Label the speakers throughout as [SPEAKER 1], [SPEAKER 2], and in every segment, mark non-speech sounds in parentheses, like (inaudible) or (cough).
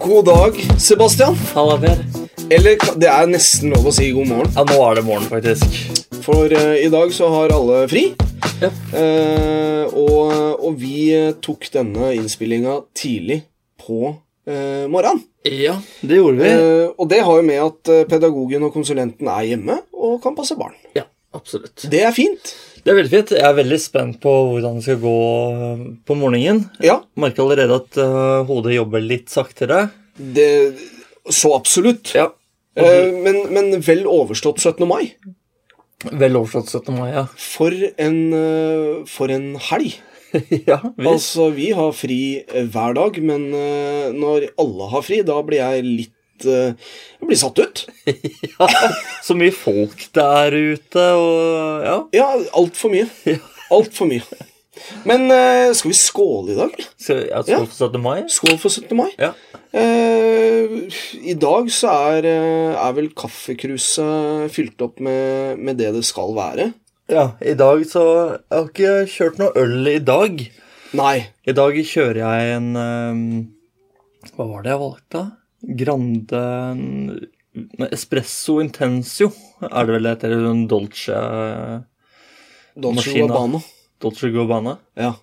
[SPEAKER 1] God dag, Sebastian.
[SPEAKER 2] Halla, Per.
[SPEAKER 1] Eller ka- det er nesten lov å si god morgen.
[SPEAKER 2] Ja, nå er det morgen, faktisk.
[SPEAKER 1] For eh, i dag så har alle fri.
[SPEAKER 2] Ja.
[SPEAKER 1] Eh, og, og vi eh, tok denne innspillinga tidlig på eh, morgenen.
[SPEAKER 2] Ja, det gjorde vi.
[SPEAKER 1] Eh, og det har jo med at eh, pedagogen og konsulenten er hjemme og kan passe barn.
[SPEAKER 2] Ja, absolutt.
[SPEAKER 1] Det er fint.
[SPEAKER 2] Det er veldig fint. Jeg er veldig spent på hvordan det skal gå øh, på morgenen.
[SPEAKER 1] Ja,
[SPEAKER 2] Merker allerede at øh, hodet jobber litt saktere.
[SPEAKER 1] det Så absolutt.
[SPEAKER 2] Ja.
[SPEAKER 1] Eh, men, men vel overstått 17. mai.
[SPEAKER 2] Vel overstått 17. mai, (laughs) ja.
[SPEAKER 1] For en, eh, for en helg.
[SPEAKER 2] ja visst.
[SPEAKER 1] Altså, vi har fri eh, hver dag, men eh, når alle har fri, da blir jeg litt eh, Jeg blir satt ut.
[SPEAKER 2] Så mye folk der ute, og ja.
[SPEAKER 1] Ja, altfor
[SPEAKER 2] (laughs)
[SPEAKER 1] mye. Altfor mye. Men eh, skal vi skåle i dag?
[SPEAKER 2] Skal jeg
[SPEAKER 1] Ja.
[SPEAKER 2] skal på 17. mai?
[SPEAKER 1] Skål for 17. mai.
[SPEAKER 2] Ja.
[SPEAKER 1] Eh, I dag så er, eh, er vel kaffekruset fylt opp med, med det det skal være.
[SPEAKER 2] ja. I dag så Jeg har ikke kjørt noe øl i dag.
[SPEAKER 1] Nei.
[SPEAKER 2] I dag kjører jeg en eh, Hva var det jeg valgte? Grande nei, Espresso Intensio er det vel det heter? En Dolce
[SPEAKER 1] Dolce
[SPEAKER 2] Maskina.
[SPEAKER 1] Gabbana.
[SPEAKER 2] Dolce Gabbana?
[SPEAKER 1] Ja.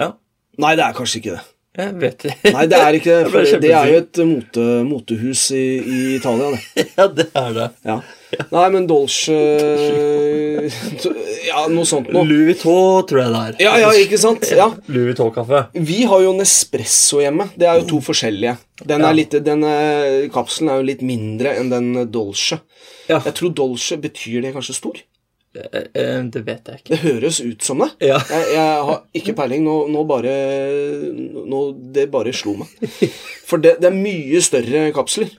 [SPEAKER 2] Ja.
[SPEAKER 1] Nei, det er kanskje ikke det.
[SPEAKER 2] Jeg vet ikke. (laughs)
[SPEAKER 1] Nei, det er ikke det.
[SPEAKER 2] Jeg ble
[SPEAKER 1] For det er jo
[SPEAKER 2] kjempesur.
[SPEAKER 1] et mote, motehus i, i Italia, det.
[SPEAKER 2] Ja, det er det.
[SPEAKER 1] Ja. Nei, men Dolce eh, (laughs) Ja, noe sånt noe.
[SPEAKER 2] Louis Vuitton tror jeg det er.
[SPEAKER 1] Ja, ja, ikke sant? Ja.
[SPEAKER 2] Louis Vuitton-kaffe.
[SPEAKER 1] Vi har jo Nespresso hjemme. Det er jo to forskjellige. Den
[SPEAKER 2] Ja.
[SPEAKER 1] er litt, den er, kapselen er jo litt mindre enn den Dolce.
[SPEAKER 2] Ja.
[SPEAKER 1] Jeg tror Dolce betyr det kanskje stor.
[SPEAKER 2] Eh, eh, Det vet jeg ikke.
[SPEAKER 1] Det høres ut som det.
[SPEAKER 2] Ja.
[SPEAKER 1] Jeg, jeg har ikke peiling. Nå, nå bare nå, Det bare slo meg. For det, det er mye større kapsler.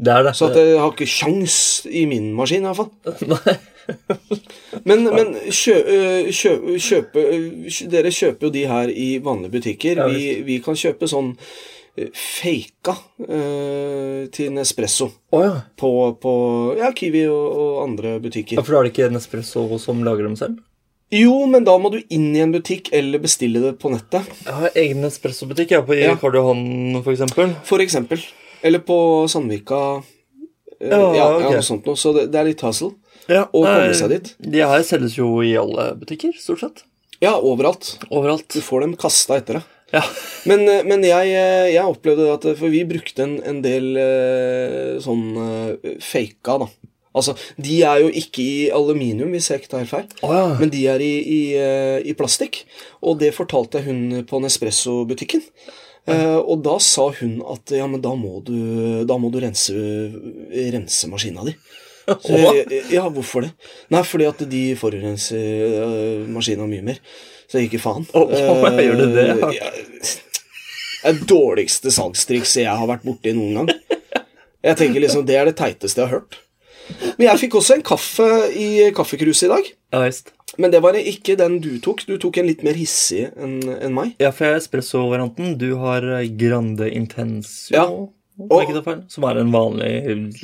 [SPEAKER 2] Det er det.
[SPEAKER 1] Så at jeg har ikke kjangs i min maskin, i hvert fall.
[SPEAKER 2] (laughs) Nei.
[SPEAKER 1] Men, men kjø, øh, kjø, kjøpe, øh, kj- dere kjøper jo de her i vanlige butikker.
[SPEAKER 2] Ja,
[SPEAKER 1] vi, vi kan kjøpe sånn øh, faka øh, til Nespresso
[SPEAKER 2] Å ja.
[SPEAKER 1] på, på ja, Kiwi og, og andre
[SPEAKER 2] ja.
[SPEAKER 1] butikker.
[SPEAKER 2] For da er det ikke Nespresso som lager dem selv?
[SPEAKER 1] Jo, men da må du inn i en butikk eller bestille det på nettet,
[SPEAKER 2] Jeg har egen Nespresso-butikk jeg, på
[SPEAKER 1] Ja.
[SPEAKER 2] Karl Johan, for eksempel.
[SPEAKER 1] for eksempel. Eller på Sandvika. øh,
[SPEAKER 2] Ja,
[SPEAKER 1] ja,
[SPEAKER 2] ok.
[SPEAKER 1] ja, noe sånt noe. Så det, det er litt hassle
[SPEAKER 2] Ja,
[SPEAKER 1] å komme
[SPEAKER 2] nei,
[SPEAKER 1] seg dit.
[SPEAKER 2] De her selges jo i alle butikker, stort sett.
[SPEAKER 1] Ja, overalt.
[SPEAKER 2] Overalt.
[SPEAKER 1] Du får dem kasta etter deg.
[SPEAKER 2] Ja.
[SPEAKER 1] Men, eh, men jeg, jeg opplevde det at eh, For vi brukte en, en del eh, sånn eh, faka, da. Altså, de er jo ikke i aluminium, hvis jeg ikke tar helt feil.
[SPEAKER 2] Å ja.
[SPEAKER 1] Men de er i, i, eh, i plastikk. Og det fortalte jeg hun på Nespresso-butikken. Eh, og da sa hun at ja, men da må du, da må du rense, rense maskina
[SPEAKER 2] (laughs)
[SPEAKER 1] di. Så jeg, jeg- ja, hvorfor det? Nei, fordi at de forurenser øh, maskina mye mer. Så jeg gir ikke faen.
[SPEAKER 2] Å, å,
[SPEAKER 1] Eh,
[SPEAKER 2] gjør du det, ja?
[SPEAKER 1] ja, Det er dårligste salgstrikset jeg har vært borti noen gang. Jeg tenker liksom, Det er det teiteste jeg har hørt. Men jeg fikk også en kaffe i kaffekruset i dag.
[SPEAKER 2] ja visst.
[SPEAKER 1] Men det var ikke den du tok. Du tok en litt mer hissig enn enn meg.
[SPEAKER 2] Ja, for jeg har espresso-varianten. Du har eh, Grande Intensio.
[SPEAKER 1] Ja.
[SPEAKER 2] om jeg ikke tar feil, Som er en vanlig,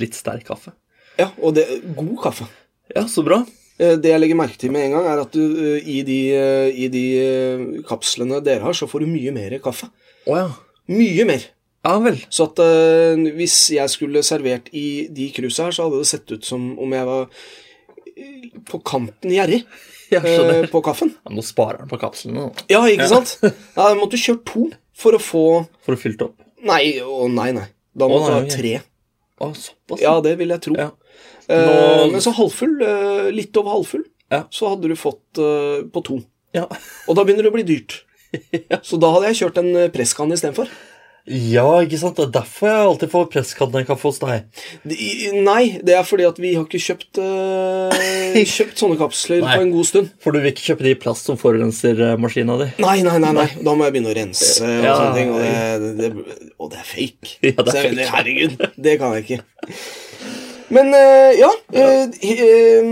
[SPEAKER 2] litt sterk kaffe.
[SPEAKER 1] Ja, Og det, god kaffe.
[SPEAKER 2] Ja, så bra.
[SPEAKER 1] Eh, Det jeg legger merke til med en gang, er at du, eh, i de, eh, i de eh, kapslene dere har, så får du mye mer kaffe.
[SPEAKER 2] Å ja.
[SPEAKER 1] Mye mer.
[SPEAKER 2] Ja vel.
[SPEAKER 1] Så at eh, hvis jeg skulle servert i de krusa her, så hadde det sett ut som om jeg var eh, på kanten gjerrig
[SPEAKER 2] (laughs) Jeg skjønner.
[SPEAKER 1] eh, på kaffen.
[SPEAKER 2] Ja, men nå sparer han på kapslene nå,
[SPEAKER 1] Ja, ikke sant? Da måtte du kjøre to for å få
[SPEAKER 2] for å fylle det opp.
[SPEAKER 1] Nei, å nei, nei. Da
[SPEAKER 2] Å,
[SPEAKER 1] måtte
[SPEAKER 2] nei,
[SPEAKER 1] du ha tre.
[SPEAKER 2] Å, såpass.
[SPEAKER 1] Ja, det vil jeg tro.
[SPEAKER 2] Ja.
[SPEAKER 1] Eh,
[SPEAKER 2] Nå-
[SPEAKER 1] men så halvfull, eh, litt over halvfull,
[SPEAKER 2] Ja.
[SPEAKER 1] så hadde du fått eh, på to.
[SPEAKER 2] Ja.
[SPEAKER 1] (laughs) Og da begynner det å bli
[SPEAKER 2] (laughs)
[SPEAKER 1] dyrt. Så da hadde jeg kjørt en eh, presskanne istedenfor.
[SPEAKER 2] ja, ikke sant. Det er derfor jeg alltid får presskannekaffe hos deg.
[SPEAKER 1] De- i- Nei, det er fordi at vi har ikke kjøpt,
[SPEAKER 2] (laughs)
[SPEAKER 1] eh, kjøpt sånne kapsler
[SPEAKER 2] Nei.
[SPEAKER 1] på en god stund.
[SPEAKER 2] For du vil ikke kjøpe de i plast som forurenser eh, maskina di.
[SPEAKER 1] Nei, nei, nei, nei. Da må jeg begynne å rense og
[SPEAKER 2] Ja.
[SPEAKER 1] sånne ting. Og det, det, det, og det er fake.
[SPEAKER 2] Ja, det er
[SPEAKER 1] Så jeg
[SPEAKER 2] fake.
[SPEAKER 1] mener, herregud, det kan jeg ikke. Men eh, ja eh, eh,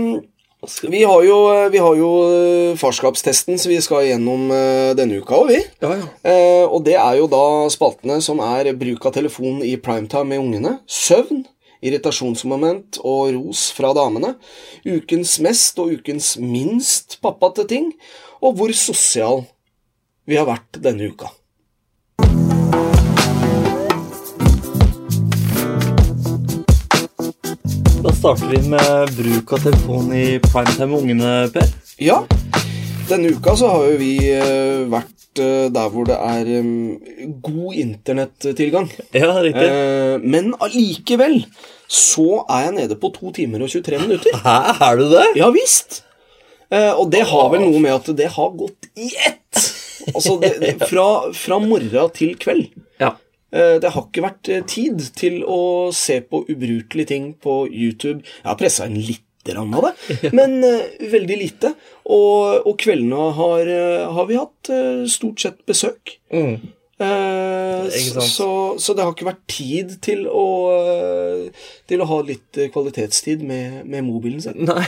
[SPEAKER 1] vi, har jo, vi har jo eh, farskapstesten som vi skal gjennom eh, denne uka òg, vi.
[SPEAKER 2] Ja, ja.
[SPEAKER 1] Eh, og det er jo da spaltene som er bruk av telefon i primetime med ungene, søvn, irritasjonsmoment og ros fra damene, ukens mest og ukens minst pappa til ting, og hvor sosial vi har vært denne uka.
[SPEAKER 2] starter vi med bruk av telefon i primetime med ungene, Per.
[SPEAKER 1] Ja. Denne uka så har jo vi eh, vært eh, der hvor det er eh, god internettilgang.
[SPEAKER 2] Ja, riktig.
[SPEAKER 1] Eh, Men allikevel så er jeg nede på to timer og 23 minutter.
[SPEAKER 2] Hæ, er du det?
[SPEAKER 1] Ja visst! Eh, Og det har vel noe med at det har gått i ett! Altså det,
[SPEAKER 2] (laughs)
[SPEAKER 1] det, fra, fra morgen til kveld.
[SPEAKER 2] Ja.
[SPEAKER 1] Eh, Det har ikke vært eh, tid til å se på ubrukelige ting på YouTube. Jeg har pressa inn litt grann av
[SPEAKER 2] (laughs)
[SPEAKER 1] det, men eh, veldig lite. Og, og kveldene har, eh, har vi hatt eh, stort sett besøk. Eh,
[SPEAKER 2] Mm. Ikke sant.
[SPEAKER 1] så, så det har ikke vært tid til å, eh, til å ha litt eh, kvalitetstid med, med mobilen sin.
[SPEAKER 2] Nei,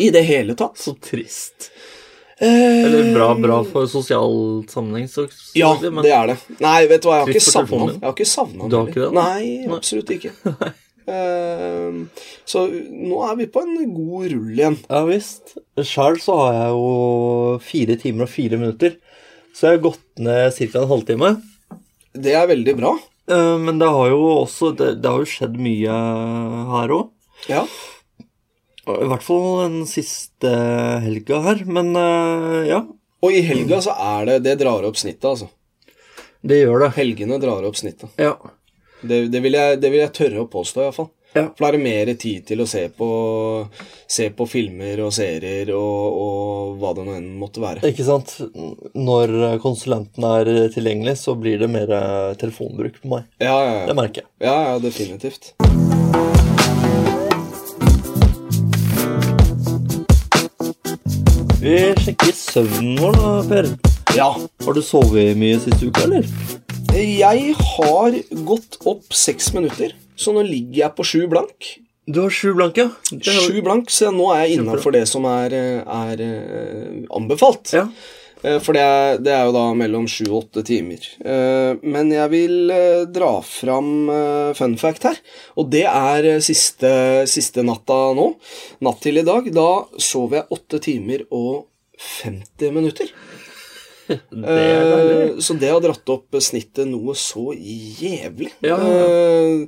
[SPEAKER 1] I det hele tatt.
[SPEAKER 2] så trist.
[SPEAKER 1] Eh,
[SPEAKER 2] Eller bra, bra for sosial sammenheng, så så-
[SPEAKER 1] Ja,
[SPEAKER 2] men-
[SPEAKER 1] det er det. Nei, vet du hva, jeg har
[SPEAKER 2] Trykk
[SPEAKER 1] ikke
[SPEAKER 2] på
[SPEAKER 1] savna
[SPEAKER 2] telefonen
[SPEAKER 1] den.
[SPEAKER 2] din.
[SPEAKER 1] Jeg har ikke savnet den
[SPEAKER 2] Du har
[SPEAKER 1] heller.
[SPEAKER 2] ikke det?
[SPEAKER 1] Nei, absolutt
[SPEAKER 2] (laughs)
[SPEAKER 1] ikke. Ehm, så nå er vi på en god rull igjen.
[SPEAKER 2] Ja visst. Sjøl så har jeg jo fire timer og fire minutter. Så jeg har gått ned ca. en halvtime.
[SPEAKER 1] Det er veldig bra.
[SPEAKER 2] Eh, Men det har jo også Det, det har jo skjedd mye her òg.
[SPEAKER 1] Ja.
[SPEAKER 2] I hvert fall den siste helga her. Men eh, ja,
[SPEAKER 1] Og i helga så er det Det drar opp snittet, altså.
[SPEAKER 2] det gjør det.
[SPEAKER 1] Helgene drar opp snittet.
[SPEAKER 2] Ja.
[SPEAKER 1] Det, det, vil, jeg, det vil jeg tørre å påstå, iallfall.
[SPEAKER 2] Ja.
[SPEAKER 1] For da er det mer tid til å se på, se på filmer og serier og, og hva det nå enn måtte være.
[SPEAKER 2] Ikke sant. Når konsulenten er tilgjengelig, så blir det mer eh, telefonbruk på meg.
[SPEAKER 1] Ja, ja, ja.
[SPEAKER 2] Det merker jeg.
[SPEAKER 1] Ja, ja, definitivt.
[SPEAKER 2] Vi sjekker søvnen vår, da, Per.
[SPEAKER 1] Ja,
[SPEAKER 2] Har du sovet mye siste uka, eller?
[SPEAKER 1] Jeg har gått opp seks minutter, så nå ligger jeg på sju blank.
[SPEAKER 2] Du har sju blanke. Det er jo-
[SPEAKER 1] Sju blank, så nå er jeg innafor det som er, er eh, anbefalt.
[SPEAKER 2] Ja.
[SPEAKER 1] Eh, For det er, det er jo da mellom sju og åtte timer. Eh, Men jeg vil eh, dra fram eh, fun fact her, og det er eh, siste, siste natta nå. Natt til i dag. Da sov jeg åtte timer og 50 minutter.
[SPEAKER 2] Det er deilig.
[SPEAKER 1] Eh, Så det har dratt opp snittet noe så jævlig.
[SPEAKER 2] Ja.
[SPEAKER 1] Eh,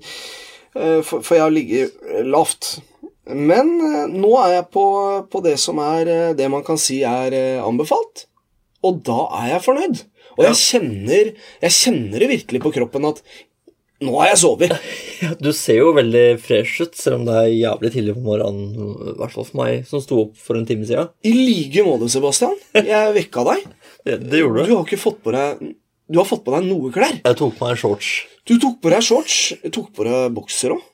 [SPEAKER 1] eh, For, for jeg har ligget eh, lavt. Men eh, nå er jeg på, på det som er eh, det man kan si er eh, anbefalt, og da er jeg fornøyd. Og jeg kjenner, jeg kjenner det virkelig på kroppen at nå har jeg sovet.
[SPEAKER 2] Ja, Du ser jo veldig fresh ut, selv om det er jævlig tidlig på morgenen. I hvert fall for meg, som sto opp for en time siden.
[SPEAKER 1] I like måte, Sebastian. Jeg vekka deg.
[SPEAKER 2] Det, det
[SPEAKER 1] Du
[SPEAKER 2] gjorde du.
[SPEAKER 1] har ikke fått på deg Du har fått på deg noe klær.
[SPEAKER 2] Jeg tok på meg shorts.
[SPEAKER 1] Du tok på deg shorts. Tok på deg bokser òg.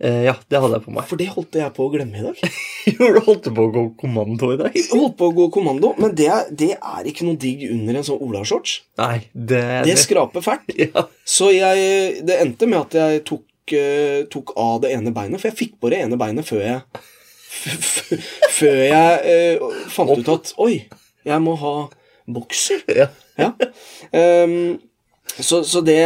[SPEAKER 2] Eh, ja, det hadde jeg på (laughs) meg.
[SPEAKER 1] For det holdt jeg på å glemme i dag.
[SPEAKER 2] du holdt på å gå kommando i dag?
[SPEAKER 1] Jeg holdt på å gå kommando, men det, er- det er ikke noe digg under en sånn olashorts.
[SPEAKER 2] Nei, det,
[SPEAKER 1] Det skraper fælt.
[SPEAKER 2] (laughs) ja.
[SPEAKER 1] Så jeg, det endte med at jeg tok, eh, tok av det ene beinet, for jeg fikk på det ene beinet før jeg f- f- Før jeg eh, fant ut at Oi, jeg må ha bokser.
[SPEAKER 2] ja.
[SPEAKER 1] Ja. Ehm, så så det,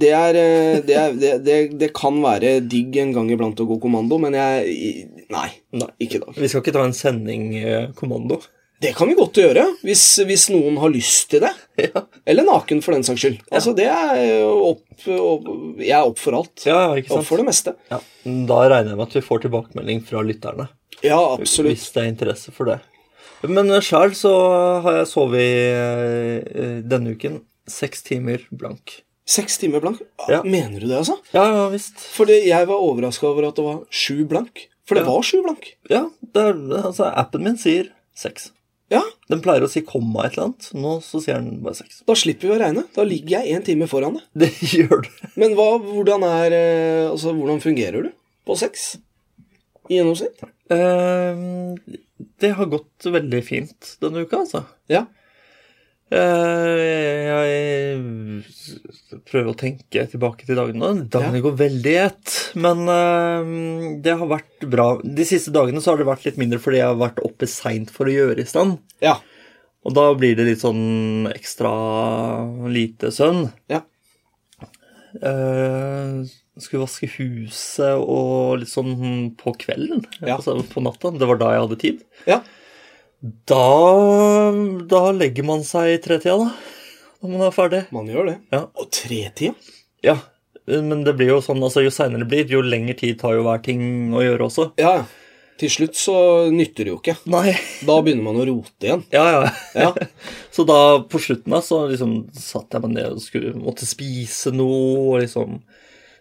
[SPEAKER 1] det er, eh, det, er det, det, det kan være digg en gang iblant å gå kommando, men jeg i- Nei.
[SPEAKER 2] Nei.
[SPEAKER 1] Ikke i dag.
[SPEAKER 2] Vi skal ikke ta en sending eh, kommando.
[SPEAKER 1] Det kan vi godt gjøre, hvis, hvis noen har lyst til det.
[SPEAKER 2] (laughs) Ja.
[SPEAKER 1] Eller naken, for den saks skyld. Altså, det er jo opp, opp Jeg er opp for alt.
[SPEAKER 2] Ja, ikke
[SPEAKER 1] Opp
[SPEAKER 2] sant?
[SPEAKER 1] for det meste.
[SPEAKER 2] Ja. Mm, Da regner jeg med at vi får tilbakemelding fra lytterne.
[SPEAKER 1] Ja, absolutt.
[SPEAKER 2] Hvis det er interesse for det. Men sjøl så har jeg sovet eh, denne uken seks timer blank.
[SPEAKER 1] Seks timer blank.
[SPEAKER 2] Ja.
[SPEAKER 1] Mener du det, altså?
[SPEAKER 2] Ja, ja visst.
[SPEAKER 1] Fordi jeg var overraska over at det var sju blank. For det
[SPEAKER 2] Ja.
[SPEAKER 1] var sju blank.
[SPEAKER 2] Ja, det er, altså appen min sier seks.
[SPEAKER 1] Ja,
[SPEAKER 2] Den pleier å si komma et eller annet. Nå så sier den bare seks. (laughs)
[SPEAKER 1] da slipper vi å regne. Da ligger jeg én time foran deg.
[SPEAKER 2] Det gjør du.
[SPEAKER 1] Men hva, hvordan er eh, Altså, hvordan fungerer du på seks? I gjennomsnitt?
[SPEAKER 2] Eh, det har gått veldig fint denne uka, altså.
[SPEAKER 1] Ja.
[SPEAKER 2] Eh, jeg prøver å tenke tilbake til dagene. Dagene går veldig i ett. Men eh, det har vært bra. De siste dagene så har det vært litt mindre fordi jeg har vært oppe seint for å gjøre i stand.
[SPEAKER 1] Ja.
[SPEAKER 2] Og da blir det litt sånn ekstra lite søvn.
[SPEAKER 1] Ja.
[SPEAKER 2] Eh, skulle vaske huset og litt sånn på kvelden,
[SPEAKER 1] Ja.
[SPEAKER 2] altså på natta. Det var da jeg hadde tid.
[SPEAKER 1] Ja.
[SPEAKER 2] Da, da legger man seg i tretida, da. Når man er ferdig.
[SPEAKER 1] Man gjør det.
[SPEAKER 2] Ja.
[SPEAKER 1] Og tretida?
[SPEAKER 2] Ja. Men det blir jo sånn, altså jo seinere det blir, jo lengre tid tar jo hver ting å gjøre også.
[SPEAKER 1] Ja, ja. Til slutt så nytter det jo ikke.
[SPEAKER 2] Nei.
[SPEAKER 1] Da begynner man å rote igjen.
[SPEAKER 2] Ja, ja.
[SPEAKER 1] Ja.
[SPEAKER 2] (laughs) Så da på slutten da, så liksom satt jeg meg ned og skulle, måtte spise noe og liksom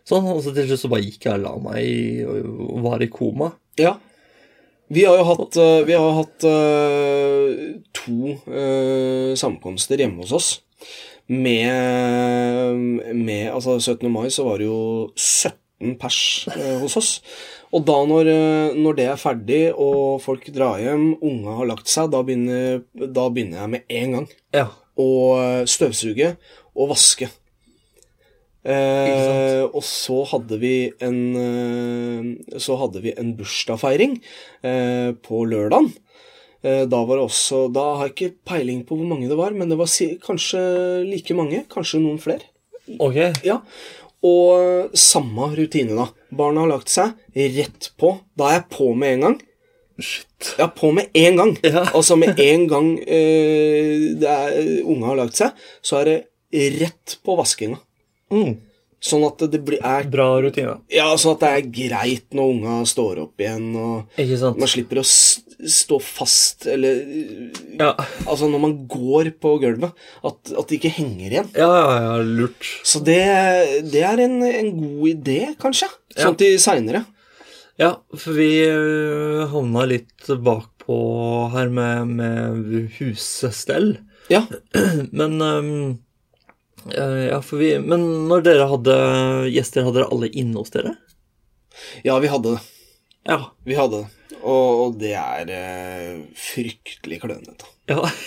[SPEAKER 2] sånn. Og så til slutt så bare gikk jeg og la meg i- og var i koma.
[SPEAKER 1] Ja. Vi har jo hatt, eh, vi har hatt eh, to eh, sammenkomster hjemme hos oss. Med, med Altså, 17. mai så var det jo 17 pers eh, hos oss. Og da når, eh, når det er ferdig, og folk drar hjem, unga har lagt seg, da begynner, da begynner jeg med en gang
[SPEAKER 2] Ja.
[SPEAKER 1] å eh, støvsuge og vaske. Eh, og så hadde vi en eh, Så hadde vi en bursdagsfeiring eh, på lørdagen. Eh, da var det også Da har jeg ikke peiling på hvor mange det var, men det var si, kanskje like mange. Kanskje noen flere.
[SPEAKER 2] Ok.
[SPEAKER 1] Ja. Og eh, samme rutine, da. Barna har lagt seg. Rett på. Da er jeg på med en gang.
[SPEAKER 2] Shit.
[SPEAKER 1] Ja, på med en gang.
[SPEAKER 2] Ja.
[SPEAKER 1] Altså med en gang eh, det er, unge har lagt seg, så er det rett på vaskinga.
[SPEAKER 2] Mm.
[SPEAKER 1] Sånn at det blir, er
[SPEAKER 2] Bra rutine.
[SPEAKER 1] Ja, sånn at det er greit når unga står opp igjen, og
[SPEAKER 2] Ikke sant?
[SPEAKER 1] man slipper å s- stå fast eller
[SPEAKER 2] Ja.
[SPEAKER 1] Altså når man går på gulvet, at, at det ikke henger igjen.
[SPEAKER 2] Ja, ja, ja, lurt.
[SPEAKER 1] Så det, det er en, en god idé, kanskje.
[SPEAKER 2] Ja.
[SPEAKER 1] Sånn til seinere.
[SPEAKER 2] Ja, for vi øh, havna litt bakpå her med, med husstell.
[SPEAKER 1] Ja.
[SPEAKER 2] Men øhm, øh, Ja, for vi Men når dere hadde gjester, hadde dere alle inne hos dere?
[SPEAKER 1] ja, vi hadde det.
[SPEAKER 2] Ja.
[SPEAKER 1] Vi hadde det. Og, og det er eh, fryktelig klønete.
[SPEAKER 2] Ja. (laughs)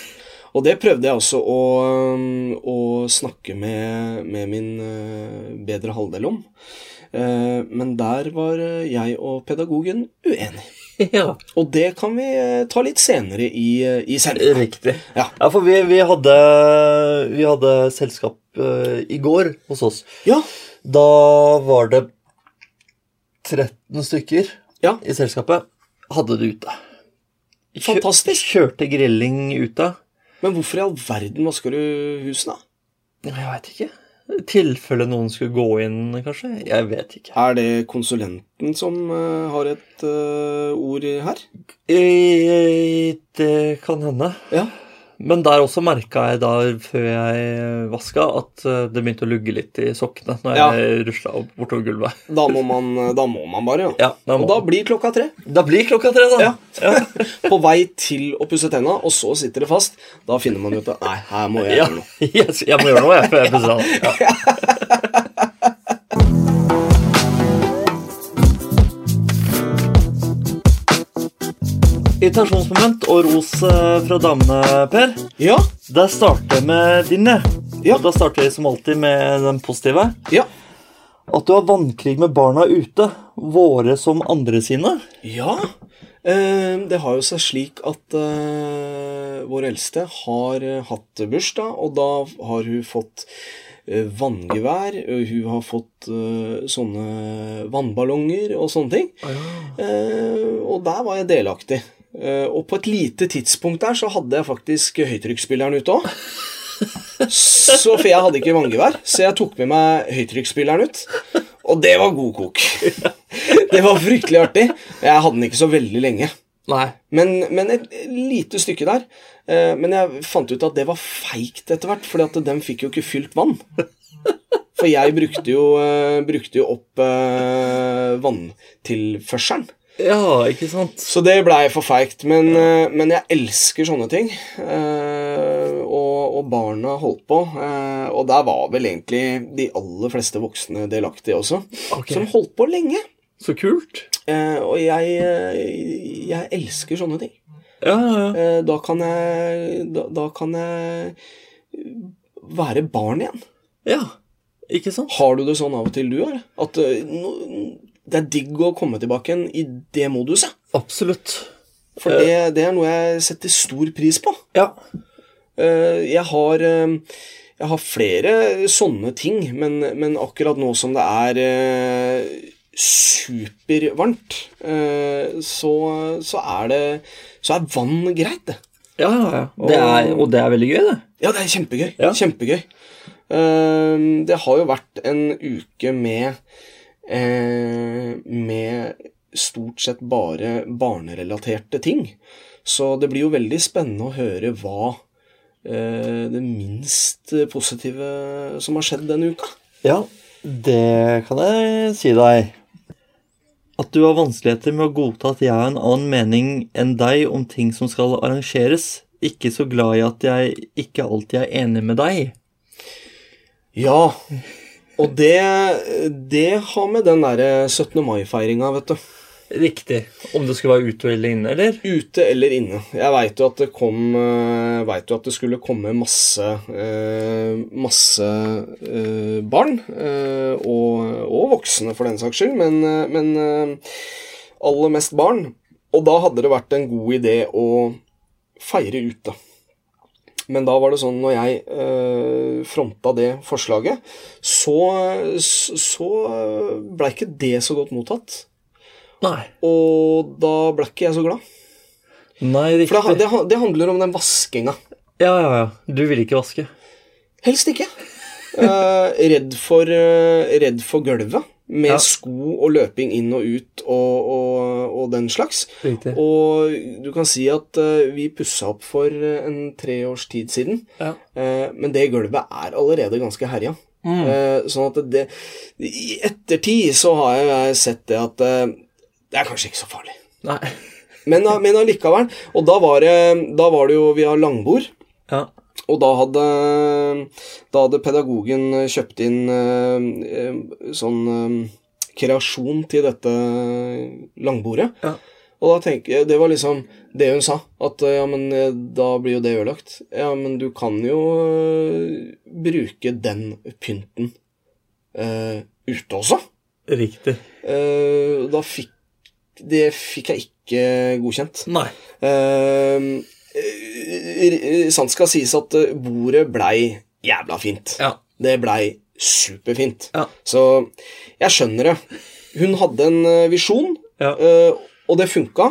[SPEAKER 1] Og det prøvde jeg også å, øhm, å snakke med, med min øh, bedre halvdel om. Eh, Men der var øh, jeg og pedagogen uenig.
[SPEAKER 2] ja.
[SPEAKER 1] Og det kan vi øh, ta litt senere i, øh, i sendingen.
[SPEAKER 2] Riktig.
[SPEAKER 1] Ja.
[SPEAKER 2] Ja, for vi, vi, hadde, vi hadde selskap øh, i går hos oss.
[SPEAKER 1] Ja,
[SPEAKER 2] Da var det 13 stykker
[SPEAKER 1] Ja.
[SPEAKER 2] i selskapet. Hadde det ute. Kjø-
[SPEAKER 1] Fantastisk.
[SPEAKER 2] Kjørte grilling ute.
[SPEAKER 1] men hvorfor i all verden vasker du husene?
[SPEAKER 2] Jeg veit ikke. I tilfelle noen skulle gå inn, kanskje. Jeg vet ikke.
[SPEAKER 1] Er det konsulenten som øh, har et øh, ord her?
[SPEAKER 2] Eh, Det kan hende.
[SPEAKER 1] Ja.
[SPEAKER 2] Men der også merka jeg da, før jeg vaska, at eh, det begynte å lugge litt i sokkene når jeg rusla opp bortover gulvet.
[SPEAKER 1] Da må man, eh, da må man bare, ja.
[SPEAKER 2] Ja, da,
[SPEAKER 1] Og
[SPEAKER 2] må.
[SPEAKER 1] da blir klokka tre.
[SPEAKER 2] da blir klokka tre, da.
[SPEAKER 1] Ja.
[SPEAKER 2] Ja.
[SPEAKER 1] På vei til å pusse tenna, og så sitter det fast. Da finner man ut at nei, her må jeg
[SPEAKER 2] Ja, (laughs)
[SPEAKER 1] gjøre noe.
[SPEAKER 2] yes, jeg må gjøre noe, jeg, før jeg pusser av. Ja. (laughs) Irritasjonsmoment og ros eh, fra damene, Per.
[SPEAKER 1] Ja,
[SPEAKER 2] Der starter jeg med din, jeg.
[SPEAKER 1] Ja.
[SPEAKER 2] Og Da starter vi som alltid med den positive.
[SPEAKER 1] ja.
[SPEAKER 2] At du har vannkrig med barna ute. Våre som andre sine.
[SPEAKER 1] Ja, eh, det har jo seg slik at eh, vår eldste har eh, hatt bursdag, og da har hun fått eh, vanngevær, og hun har fått eh, sånne vannballonger og sånne ting. Eh, og der var jeg delaktig. Eh, og på et lite tidspunkt der så hadde jeg faktisk høytrykksspilleren ute òg. Så for jeg hadde ikke vanngevær, så jeg tok med meg høytrykksspilleren ut. Og det var god kok. Det var fryktelig artig. Jeg hadde den ikke så veldig lenge.
[SPEAKER 2] Nei.
[SPEAKER 1] Men, men et lite stykke der. Eh, Men jeg fant ut at det var feigt etter hvert, Fordi at den fikk jo ikke fylt vann. For jeg brukte jo, eh, brukte jo opp eh, vanntilførselen.
[SPEAKER 2] Ja, ikke sant?
[SPEAKER 1] Så det blei for feigt. Men, eh, men jeg elsker sånne ting. Eh, Og, og barna holdt på. eh, Og der var vel egentlig de aller fleste voksne delaktige også.
[SPEAKER 2] Ok.
[SPEAKER 1] Som holdt på lenge.
[SPEAKER 2] Så kult.
[SPEAKER 1] Eh, og jeg, eh, jeg elsker sånne ting.
[SPEAKER 2] Ja, ja, ja.
[SPEAKER 1] Eh, da kan jeg da, da kan jeg være barn igjen.
[SPEAKER 2] ja. Ikke sant?
[SPEAKER 1] Har du det sånn av og til, du, eller? At eh, nå- det er digg å komme tilbake igjen i det moduset.
[SPEAKER 2] Absolutt.
[SPEAKER 1] For det, det er noe jeg setter stor pris på.
[SPEAKER 2] Ja.
[SPEAKER 1] Eh, jeg har eh, jeg har flere sånne ting, men, men akkurat nå som det er eh, supervarmt, eh, så, så er det Så er vann greit, det.
[SPEAKER 2] Ja, ja, ja. Det er, og det er veldig gøy, det.
[SPEAKER 1] Ja, det er kjempegøy.
[SPEAKER 2] Ja.
[SPEAKER 1] Kjempegøy. Eh, det har jo vært en uke med eh, med stort sett bare barnerelaterte ting. Så det blir jo veldig spennende å høre hva eh, det minst positive som har skjedd denne uka.
[SPEAKER 2] Ja, det kan jeg si deg. At du har vanskeligheter med å godta at jeg har en annen mening enn deg om ting som skal arrangeres. Ikke så glad i at jeg ikke alltid er enig med deg.
[SPEAKER 1] Ja, og det, det har med den derre 17. mai-feiringa, vet du.
[SPEAKER 2] Riktig. Om det skulle være ute eller inne, eller?
[SPEAKER 1] Ute eller inne. Jeg veit jo at det kom eh, Vet jo at det skulle komme masse eh, Masse eh, barn. eh, Og, og voksne, for den saks skyld, men, eh, men eh, aller mest barn. Og da hadde det vært en god idé å feire ute. Men da var det sånn, når jeg eh, fronta det forslaget, så, så blei ikke det så godt mottatt.
[SPEAKER 2] Nei.
[SPEAKER 1] Og da ble ikke jeg så glad.
[SPEAKER 2] Nei,
[SPEAKER 1] For det,
[SPEAKER 2] riktig.
[SPEAKER 1] det, det handler om den vaskinga.
[SPEAKER 2] Ja, ja, ja. Du vil ikke vaske.
[SPEAKER 1] Helst
[SPEAKER 2] (laughs)
[SPEAKER 1] ikke. Eh, redd, for, eh, redd for gulvet, med
[SPEAKER 2] Ja.
[SPEAKER 1] sko og løping inn og ut og, og, og den slags.
[SPEAKER 2] Riktig.
[SPEAKER 1] Og du kan si at eh, vi pussa opp for eh, en tre års tid siden,
[SPEAKER 2] Ja.
[SPEAKER 1] eh, men det gulvet er allerede ganske herja.
[SPEAKER 2] Mm.
[SPEAKER 1] Eh, sånn at det I ettertid så har jeg sett det at eh, det er kanskje ikke så farlig.
[SPEAKER 2] Nei.
[SPEAKER 1] Men, eh, men allikevel. Og da var, det, da var det jo Vi har langbord.
[SPEAKER 2] Ja.
[SPEAKER 1] Og da hadde, da hadde pedagogen kjøpt inn eh, eh, sånn eh, kreasjon til dette langbordet.
[SPEAKER 2] Ja.
[SPEAKER 1] Og da tenker jeg, Det var liksom det hun sa. At eh, ja, men eh, da blir jo det ødelagt. Ja, men du kan jo eh, bruke den pynten eh, ute også.
[SPEAKER 2] Riktig.
[SPEAKER 1] Eh, da fikk Det fikk jeg ikke godkjent.
[SPEAKER 2] Nei.
[SPEAKER 1] Eh, eh, sant skal sies at eh, bordet blei jævla fint.
[SPEAKER 2] Ja.
[SPEAKER 1] Det blei superfint.
[SPEAKER 2] Ja.
[SPEAKER 1] Så jeg skjønner det. Hun hadde en eh, visjon,
[SPEAKER 2] Ja.
[SPEAKER 1] eh, og det funka.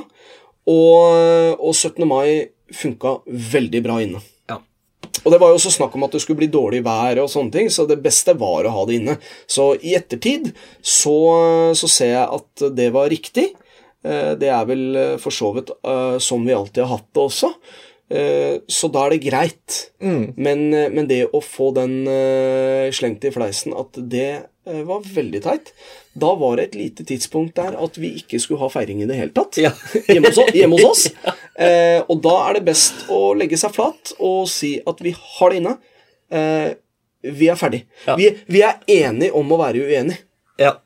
[SPEAKER 1] Og, eh, og 17. mai funka veldig bra inne.
[SPEAKER 2] Ja.
[SPEAKER 1] Og det var jo også snakk om at det skulle bli dårlig vær og sånne ting, så det beste var å ha det inne. Så i ettertid så, så ser jeg at det var riktig. Eh, Det er vel eh, for så vidt eh, som vi alltid har hatt det også. Eh, Så da er det greit.
[SPEAKER 2] Mm.
[SPEAKER 1] Men, eh, men det å få den eh, slengt i fleisen at det eh, var veldig teit Da var det et lite tidspunkt der at vi ikke skulle ha feiring i det hele tatt
[SPEAKER 2] Ja.
[SPEAKER 1] hjemme hos, o- hjemme hos
[SPEAKER 2] (laughs)
[SPEAKER 1] oss. Eh, og da er det best å legge seg flat og si at vi har det inne. Eh, vi er ferdig.
[SPEAKER 2] Ja.
[SPEAKER 1] Vi, vi er enige om å være uenige.
[SPEAKER 2] Ja,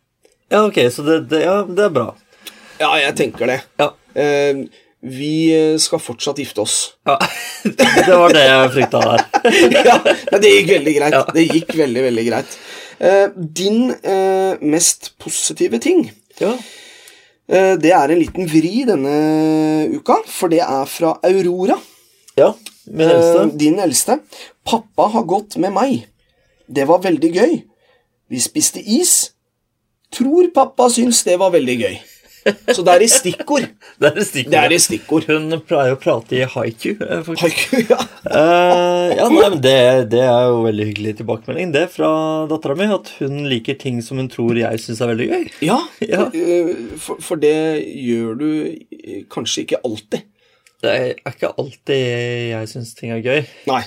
[SPEAKER 2] ja ok. Så det, det, ja, det er bra.
[SPEAKER 1] Ja, jeg tenker det.
[SPEAKER 2] Ja.
[SPEAKER 1] Eh, vi eh, skal fortsatt gifte
[SPEAKER 2] (laughs)
[SPEAKER 1] oss.
[SPEAKER 2] ja. det var det jeg frykta der.
[SPEAKER 1] ja, men det gikk veldig greit.
[SPEAKER 2] Ja.
[SPEAKER 1] Det gikk veldig, veldig greit. Eh, din eh, mest positive ting,
[SPEAKER 2] Ja.
[SPEAKER 1] eh, det er en liten vri denne uka, for det er fra Aurora.
[SPEAKER 2] ja. Min
[SPEAKER 1] Eh,
[SPEAKER 2] eldste.
[SPEAKER 1] Din eldste. Pappa har gått med meg. Det var veldig gøy. Vi spiste is. Tror pappa syns det var veldig gøy. Så det er i stikkord.
[SPEAKER 2] Det er et stikkord.
[SPEAKER 1] Det er i stikkord.
[SPEAKER 2] Hun pleier å prate i haiku. eh, faktisk.
[SPEAKER 1] Haiku, ja.
[SPEAKER 2] Eh, ja, nei, men det, det er jo veldig hyggelig tilbakemelding Det fra dattera mi. At hun liker ting som hun tror jeg syns er veldig gøy.
[SPEAKER 1] Ja,
[SPEAKER 2] Ja.
[SPEAKER 1] eh, For, for det gjør du eh, kanskje ikke alltid.
[SPEAKER 2] Det er ikke alltid jeg syns ting er gøy.
[SPEAKER 1] Nei.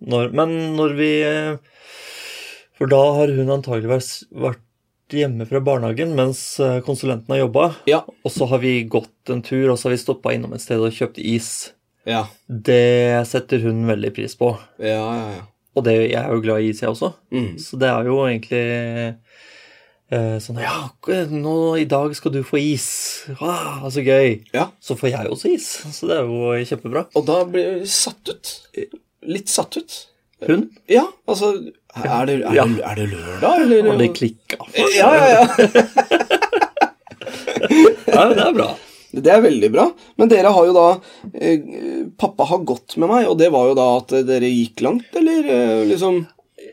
[SPEAKER 2] Når, men når vi eh, For da har hun antageligvis vært hjemme fra barnehagen mens eh, konsulenten har jobba.
[SPEAKER 1] Ja.
[SPEAKER 2] Og så har vi gått en tur, og så har vi stoppa innom et sted og kjøpt is.
[SPEAKER 1] Ja,
[SPEAKER 2] Det setter hun veldig pris på.
[SPEAKER 1] ja, ja. ja.
[SPEAKER 2] Og det, jeg er jo glad i is, jeg også.
[SPEAKER 1] Mm.
[SPEAKER 2] Så det er jo egentlig eh, sånn Ja, nå, i dag skal du få is. Ah, så gøy.
[SPEAKER 1] ja.
[SPEAKER 2] Så får jeg også is. Så det er jo kjempebra.
[SPEAKER 1] Og da blir du satt ut. Litt satt ut.
[SPEAKER 2] Hun
[SPEAKER 1] Ja, altså Er det, er
[SPEAKER 2] Ja.
[SPEAKER 1] det, er det lørdag, eller?
[SPEAKER 2] har det klikka.
[SPEAKER 1] ja, ja, ja.
[SPEAKER 2] Ja, men det er bra.
[SPEAKER 1] Det er veldig bra. Men dere har jo da eh, Pappa har gått med meg, og det var jo da at eh, dere gikk langt, eller eh, liksom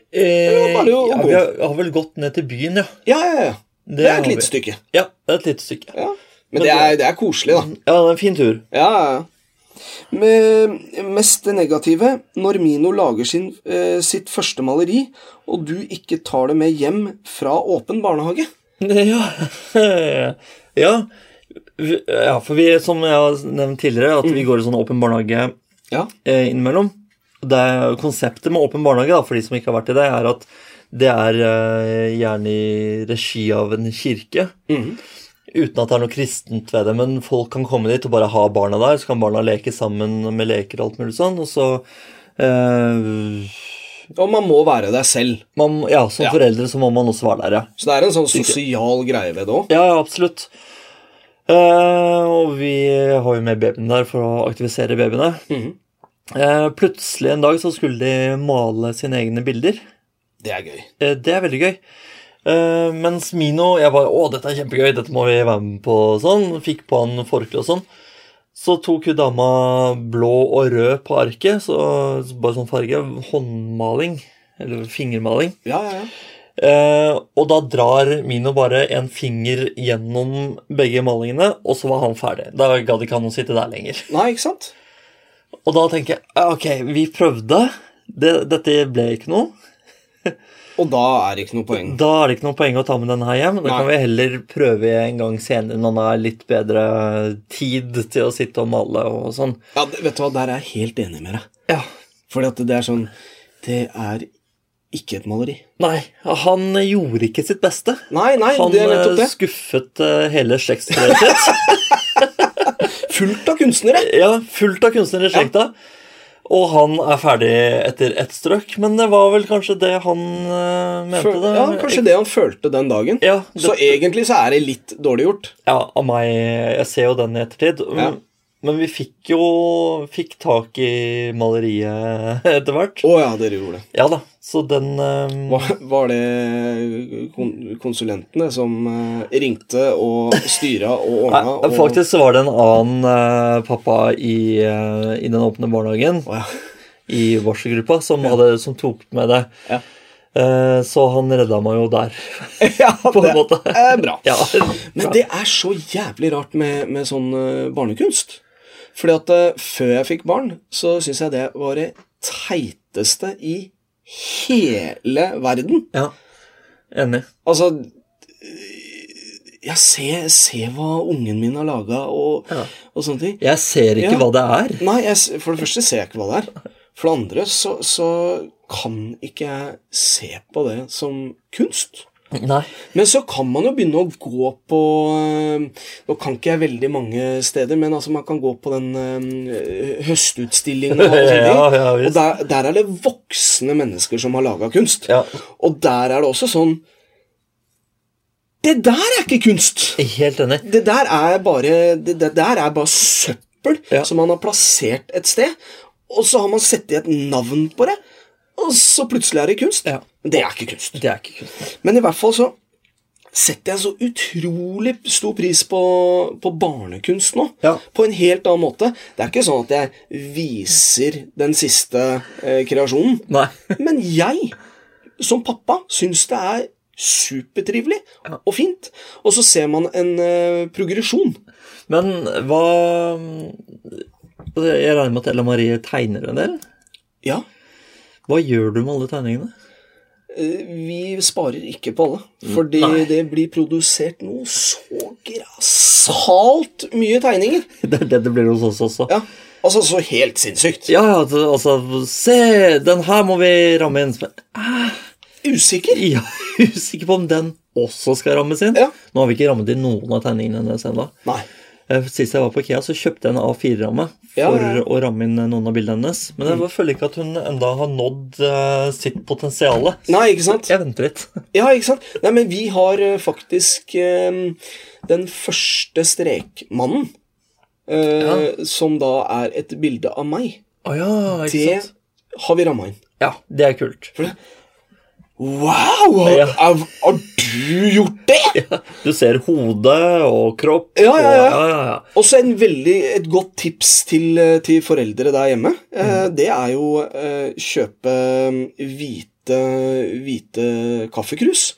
[SPEAKER 2] Eh,
[SPEAKER 1] Ja, bare å
[SPEAKER 2] ja,
[SPEAKER 1] gå.
[SPEAKER 2] vi har, har vel gått ned til byen, ja.
[SPEAKER 1] Ja, ja, ja. Det er
[SPEAKER 2] har
[SPEAKER 1] et
[SPEAKER 2] vi.
[SPEAKER 1] lite stykke.
[SPEAKER 2] Ja, det er et lite stykke.
[SPEAKER 1] Ja. Men det er, det er koselig, da.
[SPEAKER 2] Ja, det er en fin tur. (laughs)
[SPEAKER 1] Ja, ja, ja. Med mest det negative, når Mino lager sin, eh, sitt første maleri, og du ikke tar det med hjem fra åpen barnehage.
[SPEAKER 2] Ja. ja. Vi- ja, for vi, som jeg har nevnt tidligere, at vi
[SPEAKER 1] Mm.
[SPEAKER 2] går i sånn åpen barnehage
[SPEAKER 1] Ja.
[SPEAKER 2] eh, innimellom. Det er konseptet med åpen barnehage, da, for de som ikke har vært i det, er at det er eh, gjerne i regi av en kirke.
[SPEAKER 1] Mhm.
[SPEAKER 2] Uten at det er noe kristent ved det, men folk kan komme dit og bare ha barna der. Så kan barna leke sammen med leker og alt mulig sånn, og så eh,
[SPEAKER 1] Og man må være deg selv.
[SPEAKER 2] man, Ja, som
[SPEAKER 1] Ja.
[SPEAKER 2] foreldre så må man også være der, ja.
[SPEAKER 1] Så det er en sånn sosial greie ved det òg.
[SPEAKER 2] Ja, ja, absolutt. Eh, og vi har jo med babyen der for å aktivisere babyene.
[SPEAKER 1] Mhm.
[SPEAKER 2] Eh, plutselig en dag så skulle de male sine egne bilder.
[SPEAKER 1] Det er gøy.
[SPEAKER 2] Eh, det er veldig gøy. Eh, mens Mino jeg bare, å, dette er kjempegøy, dette må vi være med på og sånn. Fikk på han forkle og sånn. Så tok hun dama blå og rød på arket, så, så bare sånn farge. Håndmaling. Eller fingermaling.
[SPEAKER 1] Ja, ja, ja.
[SPEAKER 2] Eh, og da drar Mino bare en finger gjennom begge malingene, og så var han ferdig. Da gadd ikke han å sitte der lenger.
[SPEAKER 1] Nei, ikke sant?
[SPEAKER 2] Og da tenker jeg «Ja, ok, vi prøvde. Det, dette ble ikke noe.
[SPEAKER 1] Og da er det ikke noe poeng.
[SPEAKER 2] Da er det ikke noe poeng å ta med denne her hjem. Da kan
[SPEAKER 1] Nei.
[SPEAKER 2] vi heller prøve en gang senere når han har litt bedre tid til å sitte og male og sånn.
[SPEAKER 1] Ja, det- vet du hva, der er jeg helt enig med deg.
[SPEAKER 2] Ja.
[SPEAKER 1] Fordi at det er sånn Det er ikke et maleri.
[SPEAKER 2] Nei, han gjorde ikke sitt beste.
[SPEAKER 1] Nei, nei,
[SPEAKER 2] Han
[SPEAKER 1] det er nettopp
[SPEAKER 2] eh,
[SPEAKER 1] det.
[SPEAKER 2] skuffet eh, hele slektstreet sitt.
[SPEAKER 1] (laughs) Fullt av kunstnere.
[SPEAKER 2] Ja, fullt av kunstnere i slekta. Og han er ferdig etter ett strøk, men det var vel kanskje det han eh, mente,
[SPEAKER 1] Føl-
[SPEAKER 2] da?
[SPEAKER 1] Ja, kanskje det han følte den dagen.
[SPEAKER 2] Ja, det-
[SPEAKER 1] Så egentlig så er det litt dårlig gjort.
[SPEAKER 2] Ja, av meg Jeg ser jo den i ettertid.
[SPEAKER 1] Ja.
[SPEAKER 2] Men vi fikk jo fikk tak i maleriet (laughs) etter hvert.
[SPEAKER 1] Å ja, dere gjorde det.
[SPEAKER 2] Ja da, så den eh,
[SPEAKER 1] Var, var det kon konsulentene som eh, ringte og styra og ordna?
[SPEAKER 2] Nei,
[SPEAKER 1] og...
[SPEAKER 2] faktisk så var det en annen eh, pappa i, eh, i den åpne barnehagen,
[SPEAKER 1] Å, ja.
[SPEAKER 2] i varselgruppa, som, hadde, som tok med det.
[SPEAKER 1] Ja.
[SPEAKER 2] Eh, så han redda meg jo der,
[SPEAKER 1] (laughs) ja,
[SPEAKER 2] (laughs) på en
[SPEAKER 1] det
[SPEAKER 2] måte.
[SPEAKER 1] er bra.
[SPEAKER 2] Ja.
[SPEAKER 1] Men det er så jævlig rart med, med sånn eh, barnekunst. Fordi at eh, før jeg fikk barn, så syns jeg det var det teiteste i hele verden.
[SPEAKER 2] Ja, enig.
[SPEAKER 1] Altså eh, Jeg ser, ser hva ungen min har laga, og,
[SPEAKER 2] Ja.
[SPEAKER 1] og sånne ting.
[SPEAKER 2] Jeg ser ikke
[SPEAKER 1] Ja.
[SPEAKER 2] hva det er.
[SPEAKER 1] Nei, jeg, s- for det første ser jeg ikke hva det er. For det andre så, så kan ikke jeg se på det som kunst.
[SPEAKER 2] Nei.
[SPEAKER 1] Men så kan man jo begynne å gå på eh, Nå kan ikke jeg veldig mange steder, men altså man kan gå på den eh, høstutstillingen og sånne ting.
[SPEAKER 2] (laughs) Ja, ja, visst.
[SPEAKER 1] og der, der er det voksne mennesker som har laga kunst.
[SPEAKER 2] Ja.
[SPEAKER 1] Og der er det også sånn Det der er ikke kunst!
[SPEAKER 2] Helt enig.
[SPEAKER 1] Det der er bare, det, det der er bare søppel
[SPEAKER 2] Ja.
[SPEAKER 1] som man har plassert et sted, og så har man satt i et navn på det, og så plutselig er det kunst.
[SPEAKER 2] Ja.
[SPEAKER 1] Men Det er ikke kunst.
[SPEAKER 2] Det er ikke kunst.
[SPEAKER 1] Men i hvert fall så setter jeg så utrolig stor pris på, på barnekunst nå.
[SPEAKER 2] Ja.
[SPEAKER 1] På en helt annen måte. Det er ikke sånn at jeg viser den siste eh, kreasjonen,
[SPEAKER 2] Nei.
[SPEAKER 1] men jeg, som pappa, syns det er supertrivelig og fint. Og så ser man en eh, progresjon.
[SPEAKER 2] Men hva altså, Jeg regner med at Ella Marie tegner en del.
[SPEAKER 1] Ja,
[SPEAKER 2] Hva gjør du med alle tegningene?
[SPEAKER 1] eh, vi sparer ikke på alle. Fordi
[SPEAKER 2] Mm. Nei.
[SPEAKER 1] det blir produsert noe så grassat mye tegninger.
[SPEAKER 2] (laughs) Det er det det blir hos oss også.
[SPEAKER 1] Ja, altså så helt sinnssykt.
[SPEAKER 2] Ja, ja, det- altså Se, den her må vi ramme inn. Men
[SPEAKER 1] Usikker.
[SPEAKER 2] Jeg er usikker på om den også skal rammes inn.
[SPEAKER 1] Ja.
[SPEAKER 2] Nå har vi ikke rammet inn noen av tegningene hennes ennå.
[SPEAKER 1] Nei.
[SPEAKER 2] Eh, Sist jeg var på IKEA, så kjøpte jeg en A4-ramme for
[SPEAKER 1] Ja, ja, ja.
[SPEAKER 2] å ramme inn noen av bildene hennes. Men jeg føler ikke at hun enda har nådd eh, sitt potensial.
[SPEAKER 1] Nei, ikke sant?
[SPEAKER 2] Jeg venter litt.
[SPEAKER 1] Ja, ikke sant? Nei, men vi har eh, faktisk eh, den første strekmannen, eh, som da er et bilde av meg.
[SPEAKER 2] Å ja, ikke
[SPEAKER 1] Det
[SPEAKER 2] sant?
[SPEAKER 1] har vi ramma inn.
[SPEAKER 2] Ja, det er kult.
[SPEAKER 1] Wow! Har,
[SPEAKER 2] Ja.
[SPEAKER 1] er, har du gjort det?!
[SPEAKER 2] Du ser hode og kropp
[SPEAKER 1] Ja, ja, ja.
[SPEAKER 2] og ja, ja, ja.
[SPEAKER 1] Og så en veldig, et godt tips til, eh, til foreldre der hjemme. Eh,
[SPEAKER 2] Mm.
[SPEAKER 1] det er jo eh, kjøpe hvite, hvite kaffekrus.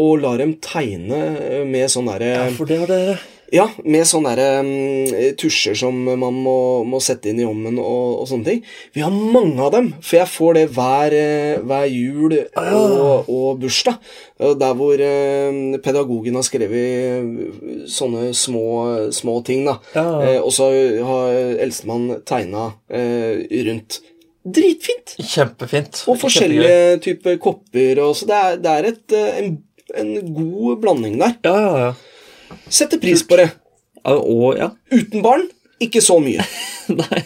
[SPEAKER 1] Og la dem tegne med sånn derre
[SPEAKER 2] For det har dere.
[SPEAKER 1] Ja, med sånne der, mm, tusjer som man må, må sette inn i ommen og, og sånne ting. Vi har mange av dem, for jeg får det hver, eh, hver jul og, og bursdag. Eh, Der hvor eh, pedagogen har skrevet eh, sånne små, små ting, da.
[SPEAKER 2] Ja.
[SPEAKER 1] Eh, Og så har eldstemann tegna eh, rundt. Dritfint!
[SPEAKER 2] Kjempefint.
[SPEAKER 1] Og forskjellige typer kopper og så det er, det er et, eh, en, en god blanding der.
[SPEAKER 2] Ja, ja, ja.
[SPEAKER 1] Setter pris på det.
[SPEAKER 2] Ja, Og ja. (laughs)
[SPEAKER 1] Uten barn, ikke så mye.
[SPEAKER 2] Nei.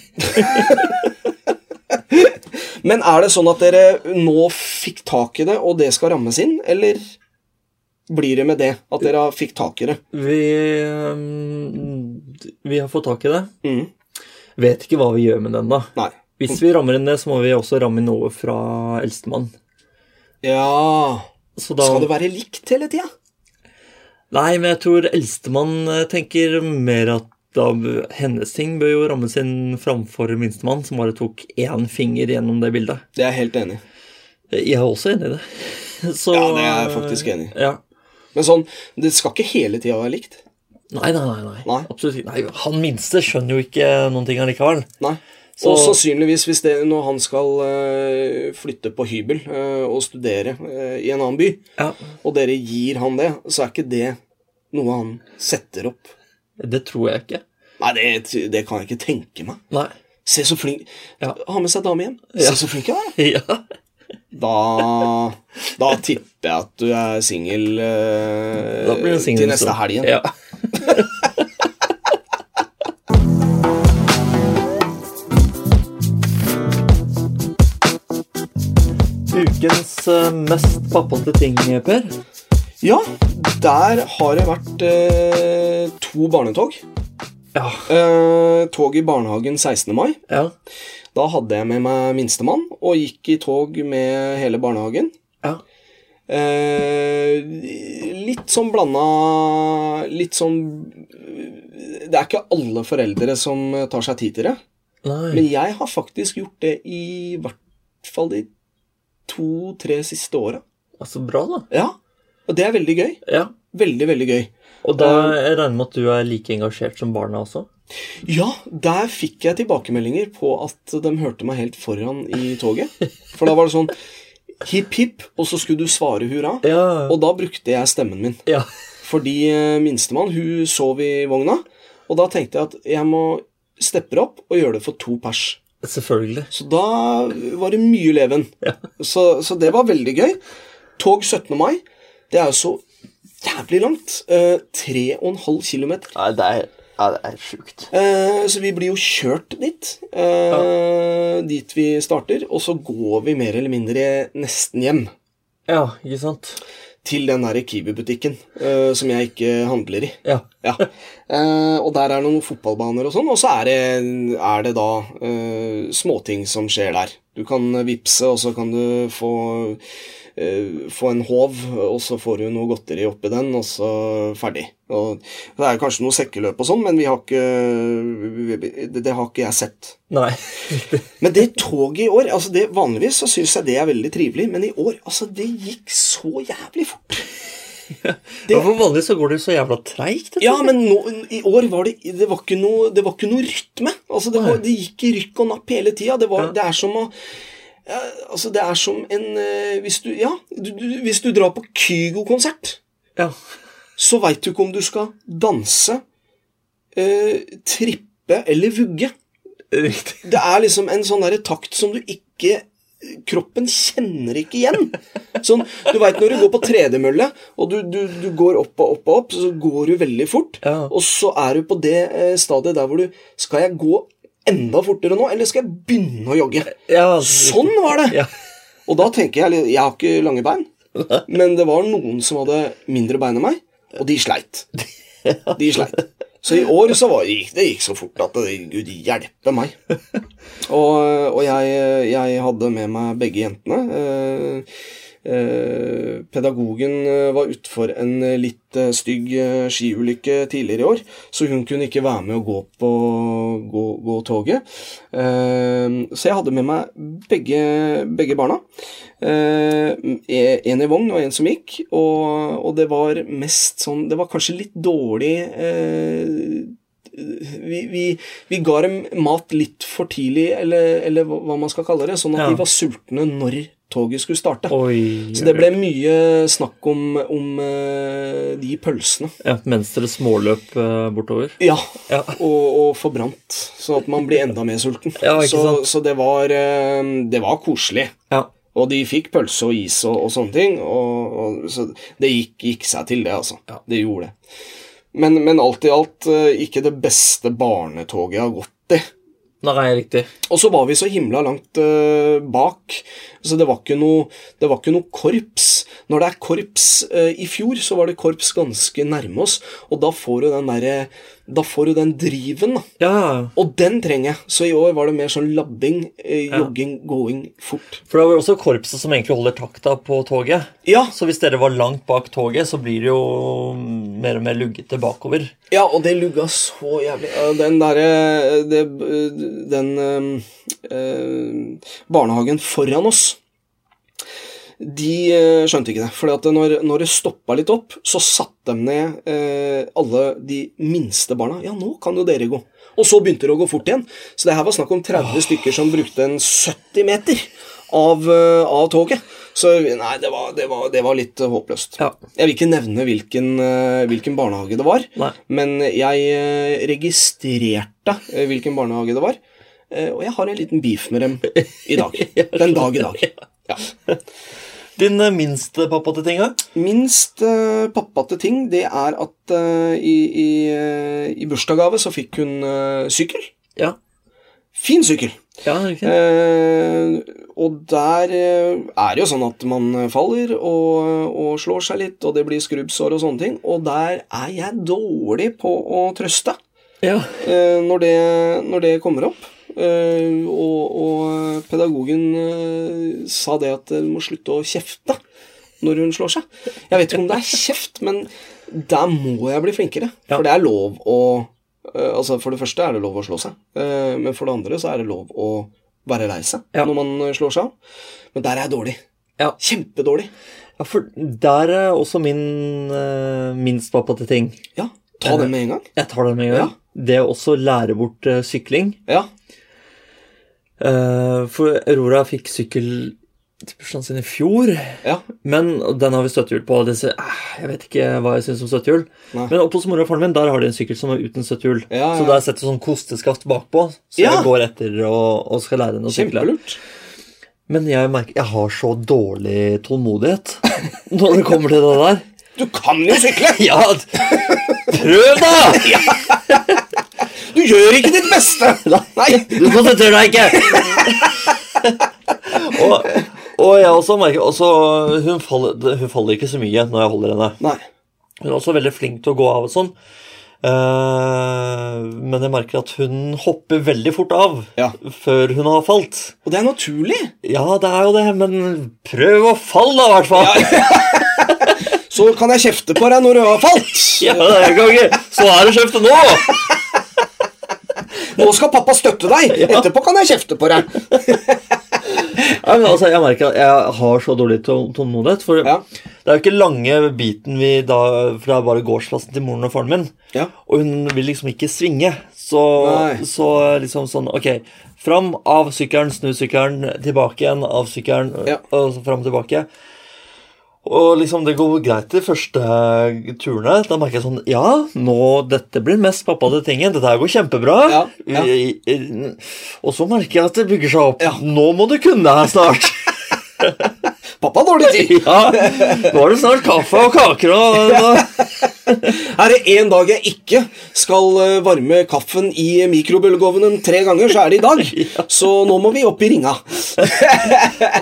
[SPEAKER 1] Men er det sånn at dere nå fikk tak i det, og det skal rammes inn, eller blir det med det at dere fikk tak i det?
[SPEAKER 2] Vi mm, Vi har fått tak i det.
[SPEAKER 1] Mm.
[SPEAKER 2] Vet ikke hva vi gjør med den, da.
[SPEAKER 1] Nei.
[SPEAKER 2] Hvis vi rammer inn det, så må vi også ramme inn noe fra eldstemann.
[SPEAKER 1] Ja
[SPEAKER 2] Så da
[SPEAKER 1] Skal det være likt hele tida?
[SPEAKER 2] Nei, men jeg tror eldstemann eh, tenker mer at da, b- hennes ting bør jo rammes inn framfor minstemann, som bare tok én finger gjennom det bildet.
[SPEAKER 1] Det er jeg helt enig i.
[SPEAKER 2] Jeg er også enig i det. (laughs) Så,
[SPEAKER 1] Ja, det er jeg faktisk enig i.
[SPEAKER 2] Ja.
[SPEAKER 1] Men sånn, det skal ikke hele tida være likt.
[SPEAKER 2] Nei, nei, nei. nei.
[SPEAKER 1] Nei.
[SPEAKER 2] Absolutt ikke. Nei, han minste skjønner jo ikke noen ting allikevel.
[SPEAKER 1] Nei.
[SPEAKER 2] Så-
[SPEAKER 1] Og sannsynligvis hvis det, når han skal eh, flytte på hybel eh, og studere eh, i en annen by,
[SPEAKER 2] Ja,
[SPEAKER 1] og dere gir han det, så er ikke det noe han setter opp.
[SPEAKER 2] Det tror jeg ikke.
[SPEAKER 1] Nei, det, det kan jeg ikke tenke meg.
[SPEAKER 2] Nei. (laughs)
[SPEAKER 1] Se så flink
[SPEAKER 2] Ja.
[SPEAKER 1] Ha med seg dame hjem.
[SPEAKER 2] Ja.
[SPEAKER 1] Se så flink jeg er.
[SPEAKER 2] Ja.
[SPEAKER 1] Da, da tipper jeg at du er singel eh,
[SPEAKER 2] Da blir det
[SPEAKER 1] til
[SPEAKER 2] singel.
[SPEAKER 1] neste helg igjen.
[SPEAKER 2] Ja. (laughs) Ukens eh, mest pappate ting, Per.
[SPEAKER 1] Ja, der har det vært eh, to barnetog.
[SPEAKER 2] Ja.
[SPEAKER 1] Eh, tog i barnehagen 16. mai.
[SPEAKER 2] Ja.
[SPEAKER 1] Da hadde jeg med meg minstemann og gikk i tog med hele barnehagen.
[SPEAKER 2] ja.
[SPEAKER 1] Eh, litt sånn blanda Litt sånn eh, Det er ikke alle foreldre som tar seg tid til det.
[SPEAKER 2] Nei.
[SPEAKER 1] Men jeg har faktisk gjort det i hvert fall de to-tre siste åra.
[SPEAKER 2] Altså, bra, da.
[SPEAKER 1] Ja. Og det er veldig gøy.
[SPEAKER 2] Ja.
[SPEAKER 1] Veldig, veldig gøy.
[SPEAKER 2] Og da jeg regner med at du er like engasjert som barna også?
[SPEAKER 1] Ja, der fikk jeg tilbakemeldinger på at de hørte meg helt foran i toget. For da var det sånn hipp, hipp, og så skulle du svare hurra.
[SPEAKER 2] Ja.
[SPEAKER 1] Og da brukte jeg stemmen min.
[SPEAKER 2] ja. (laughs)
[SPEAKER 1] Fordi eh, minstemann, hun sov i vogna. Og da tenkte jeg at jeg må steppe opp og gjøre det for to pers.
[SPEAKER 2] Selvfølgelig.
[SPEAKER 1] Så da var det mye leven.
[SPEAKER 2] Ja.
[SPEAKER 1] Så, så det var veldig gøy. Tog 17. mai, det er jo så jævlig langt. Eh, Tre og en halv kilometer.
[SPEAKER 2] Nei, det er, ja, det er sjukt.
[SPEAKER 1] Eh, så vi blir jo kjørt dit. Eh, Dit vi starter. Og så går vi mer eller mindre nesten hjem.
[SPEAKER 2] Ja, ikke sant?
[SPEAKER 1] Til den der Kiwi-butikken eh, som jeg ikke handler i.
[SPEAKER 2] Ja.
[SPEAKER 1] Ja. (laughs) Eh, og der er det noen fotballbaner og sånn, og så er det, er det da eh, småting som skjer der. Du kan vippse, og så kan du få, eh, få en håv, og så får du noe godteri oppi den, og så ferdig. Og det er kanskje noe sekkeløp og sånn, men vi har ikke, det, det har ikke jeg sett.
[SPEAKER 2] (laughs) Nei.
[SPEAKER 1] Men det toget i år altså det, Vanligvis så syns jeg det er veldig trivelig, men i år altså det gikk så jævlig fort.
[SPEAKER 2] Ja, For vanlig så går det jo så jævla treigt.
[SPEAKER 1] Ja, men nå, i år var det, det, var ikke noe, det var ikke noe rytme. Altså, det, var, det gikk i rykk og napp hele tida. Det, var-
[SPEAKER 2] Ja.
[SPEAKER 1] det er som å ja, Altså, det er som en eh, Hvis du, ja, du, du, hvis du drar på Kygo-konsert,
[SPEAKER 2] Ja. (laughs)
[SPEAKER 1] så veit du ikke om du skal danse, eh, trippe eller vugge.
[SPEAKER 2] Riktig.
[SPEAKER 1] Det er liksom en sånn derre takt som du ikke Kroppen kjenner ikke igjen. Sånn, du veit når du går på tredemølle, og du, du, du går opp og opp og opp, så går du veldig fort.
[SPEAKER 2] Ja.
[SPEAKER 1] Og så er du på det eh, stadiet der hvor du Skal jeg gå enda fortere nå, eller skal jeg begynne å jogge?
[SPEAKER 2] Ja, altså.
[SPEAKER 1] Sånn var det!
[SPEAKER 2] Ja.
[SPEAKER 1] Og da tenker jeg Jeg har ikke lange bein, men det var noen som hadde mindre bein enn meg, og de
[SPEAKER 2] (laughs)
[SPEAKER 1] sleit. De sleit. Så i år så var, gikk det gikk så fort at det, gud hjelpe meg. Og, og jeg, jeg hadde med meg begge jentene. eh, eh, pedagogen eh, var utfor en eh, litt eh, stygg eh, skiulykke tidligere i år, så hun kunne ikke være med å gå på gå, gå toget. Eh, så jeg hadde med meg begge, begge barna. Eh, en i vogn og en som gikk, og, og det var mest sånn Det var kanskje litt dårlig eh, vi, vi, vi ga dem mat litt for tidlig, eller, eller hva man skal kalle det, sånn at
[SPEAKER 2] Ja.
[SPEAKER 1] de var sultne når toget skulle starte.
[SPEAKER 2] Oi.
[SPEAKER 1] Så det ble mye snakk om, om eh, de pølsene.
[SPEAKER 2] ja, Mens dere småløp eh, bortover.
[SPEAKER 1] Ja,
[SPEAKER 2] Ja.
[SPEAKER 1] og, og forbrant, sånn at man blir enda mer sulten.
[SPEAKER 2] Ja, ikke
[SPEAKER 1] så
[SPEAKER 2] sant?
[SPEAKER 1] så det, var, eh, det var koselig.
[SPEAKER 2] Ja.
[SPEAKER 1] Og de fikk pølse og is og, og sånne ting, og, og, så det gikk, gikk seg til, det, altså.
[SPEAKER 2] Ja.
[SPEAKER 1] Det gjorde det. Men, men alt i alt eh, ikke det beste barnetoget jeg har gått i.
[SPEAKER 2] Nei, riktig.
[SPEAKER 1] Og så var vi så himla langt eh, bak, så det var, ikke noe, det var ikke noe korps. Når det er korps eh, i fjor, så var det korps ganske nærme oss, og da får du den derre Da får du den driven, da.
[SPEAKER 2] Ja,
[SPEAKER 1] Og den trenger jeg, så i år var det mer sånn labbing, eh, jogging, going fort.
[SPEAKER 2] for det var jo også korpset som egentlig holder takta på toget.
[SPEAKER 1] Ja,
[SPEAKER 2] Så hvis dere var langt bak toget, så blir det jo mer og mer luggete bakover.
[SPEAKER 1] Ja, og det lugga så jævlig. Eh, Den derre det- Den eh, eh, barnehagen foran oss de eh, skjønte ikke det. For når, når det stoppa litt opp, så satte de ned eh, alle de minste barna. Ja, nå kan jo dere gå. Og så begynte det å gå fort igjen. Så det her var snakk om 30 stykker som brukte en 70 meter av, eh, av toget. Så nei, det var, det var, det var litt eh, håpløst.
[SPEAKER 2] Ja.
[SPEAKER 1] Jeg vil ikke nevne hvilken, eh, hvilken barnehage det var,
[SPEAKER 2] Nei.
[SPEAKER 1] men jeg eh, registrerte eh, hvilken barnehage det var. eh, Og jeg har en liten beef med dem i dag. Den dag i dag. Ja.
[SPEAKER 2] Din eh, minste pappa til tinga?
[SPEAKER 1] Minst eh, pappa til ting, det er at eh, i, i, eh, i bursdagsgave så fikk hun eh, sykkel.
[SPEAKER 2] Ja.
[SPEAKER 1] Fin sykkel.
[SPEAKER 2] Ja, riktig.
[SPEAKER 1] Eh, og der eh, er det jo sånn at man faller og, og slår seg litt, og det blir skrubbsår og sånne ting. Og der er jeg dårlig på å trøste
[SPEAKER 2] Ja.
[SPEAKER 1] eh, når, det, når det kommer opp. Eh, og, og pedagogen eh, sa det at du må slutte å kjefte når hun slår seg. Jeg vet ikke om det er kjeft, men der må jeg bli flinkere.
[SPEAKER 2] Ja.
[SPEAKER 1] For det er lov å eh, Altså, for det første er det lov å slå seg, eh, men for det andre så er det lov å være lei seg
[SPEAKER 2] Ja.
[SPEAKER 1] når man eh, slår seg av. Men der er jeg dårlig.
[SPEAKER 2] Ja.
[SPEAKER 1] Kjempedårlig.
[SPEAKER 2] ja, for der er også min eh, minst pappa til ting.
[SPEAKER 1] Ja. Ta den med en gang.
[SPEAKER 2] Jeg tar den med en gang. Det å også lære bort eh, sykling.
[SPEAKER 1] Ja.
[SPEAKER 2] Eh, for Aurora fikk sykkel til bursdagen sin i fjor,
[SPEAKER 1] Ja.
[SPEAKER 2] men og den har vi støttehjul på. og Det, ser- eh, jeg vet ikke hva jeg syns om støttehjul.
[SPEAKER 1] Nei.
[SPEAKER 2] Men oppe hos mora og faren min der har de en sykkel som er uten støttehjul.
[SPEAKER 1] Ja, ja.
[SPEAKER 2] Så der setter du sånn kosteskaft bakpå, så
[SPEAKER 1] Ja.
[SPEAKER 2] jeg går etter og, og skal lære henne å sykle.
[SPEAKER 1] Kjempelurt.
[SPEAKER 2] Men jeg merker jeg har så dårlig tålmodighet (laughs) når det kommer til det der.
[SPEAKER 1] Du kan jo sykle!
[SPEAKER 2] Ja, prøv, da!
[SPEAKER 1] Du gjør ikke ditt
[SPEAKER 2] (laughs)
[SPEAKER 1] beste! Nei.
[SPEAKER 2] Du konsentrerer deg ikke! (laughs) og, og jeg også merker også, hun, faller, hun faller ikke så mye når jeg holder henne.
[SPEAKER 1] Nei.
[SPEAKER 2] Hun er også veldig flink til å gå av og sånn. Eh, men jeg merker at hun hopper veldig fort av
[SPEAKER 1] Ja.
[SPEAKER 2] før hun har falt.
[SPEAKER 1] Og det er naturlig.
[SPEAKER 2] Ja, det er jo det, men prøv å falle, da, i hvert fall!
[SPEAKER 1] Så kan jeg kjefte på deg når du har falt.
[SPEAKER 2] (laughs) Ja, det er konge. Så er det kjefte nå!
[SPEAKER 1] Nå skal pappa støtte deg. Etterpå kan jeg kjefte på deg.
[SPEAKER 2] Ja, men altså, jeg merker at jeg har så dårlig tå- tålmodighet. For
[SPEAKER 1] Ja.
[SPEAKER 2] det er jo ikke lange biten vi da fra bare gårdsplassen til moren og faren min.
[SPEAKER 1] Ja.
[SPEAKER 2] Og hun vil liksom ikke svinge. Så,
[SPEAKER 1] Nei.
[SPEAKER 2] så liksom sånn Ok, fram, av sykkelen, snu sykkelen, tilbake igjen, av sykkelen,
[SPEAKER 1] Ja.
[SPEAKER 2] og så fram og tilbake. Og liksom det går greit de første turene. Da merker jeg sånn Ja, nå, dette blir mest pappa til tingen. Dette her går kjempebra.
[SPEAKER 1] Ja, ja.
[SPEAKER 2] I- i- Og så merker jeg at det bygger seg opp.
[SPEAKER 1] Ja.
[SPEAKER 2] Nå må du kunne det her snart. (laughs)
[SPEAKER 1] Pappa har dårlig tid.
[SPEAKER 2] ja, nå er det snart kaffe og kaker
[SPEAKER 1] (laughs)
[SPEAKER 2] og, og
[SPEAKER 1] Er det én dag jeg ikke skal eh, varme kaffen i mikrobølgeovnen tre ganger, så er det i dag. Så nå må vi opp i ringa.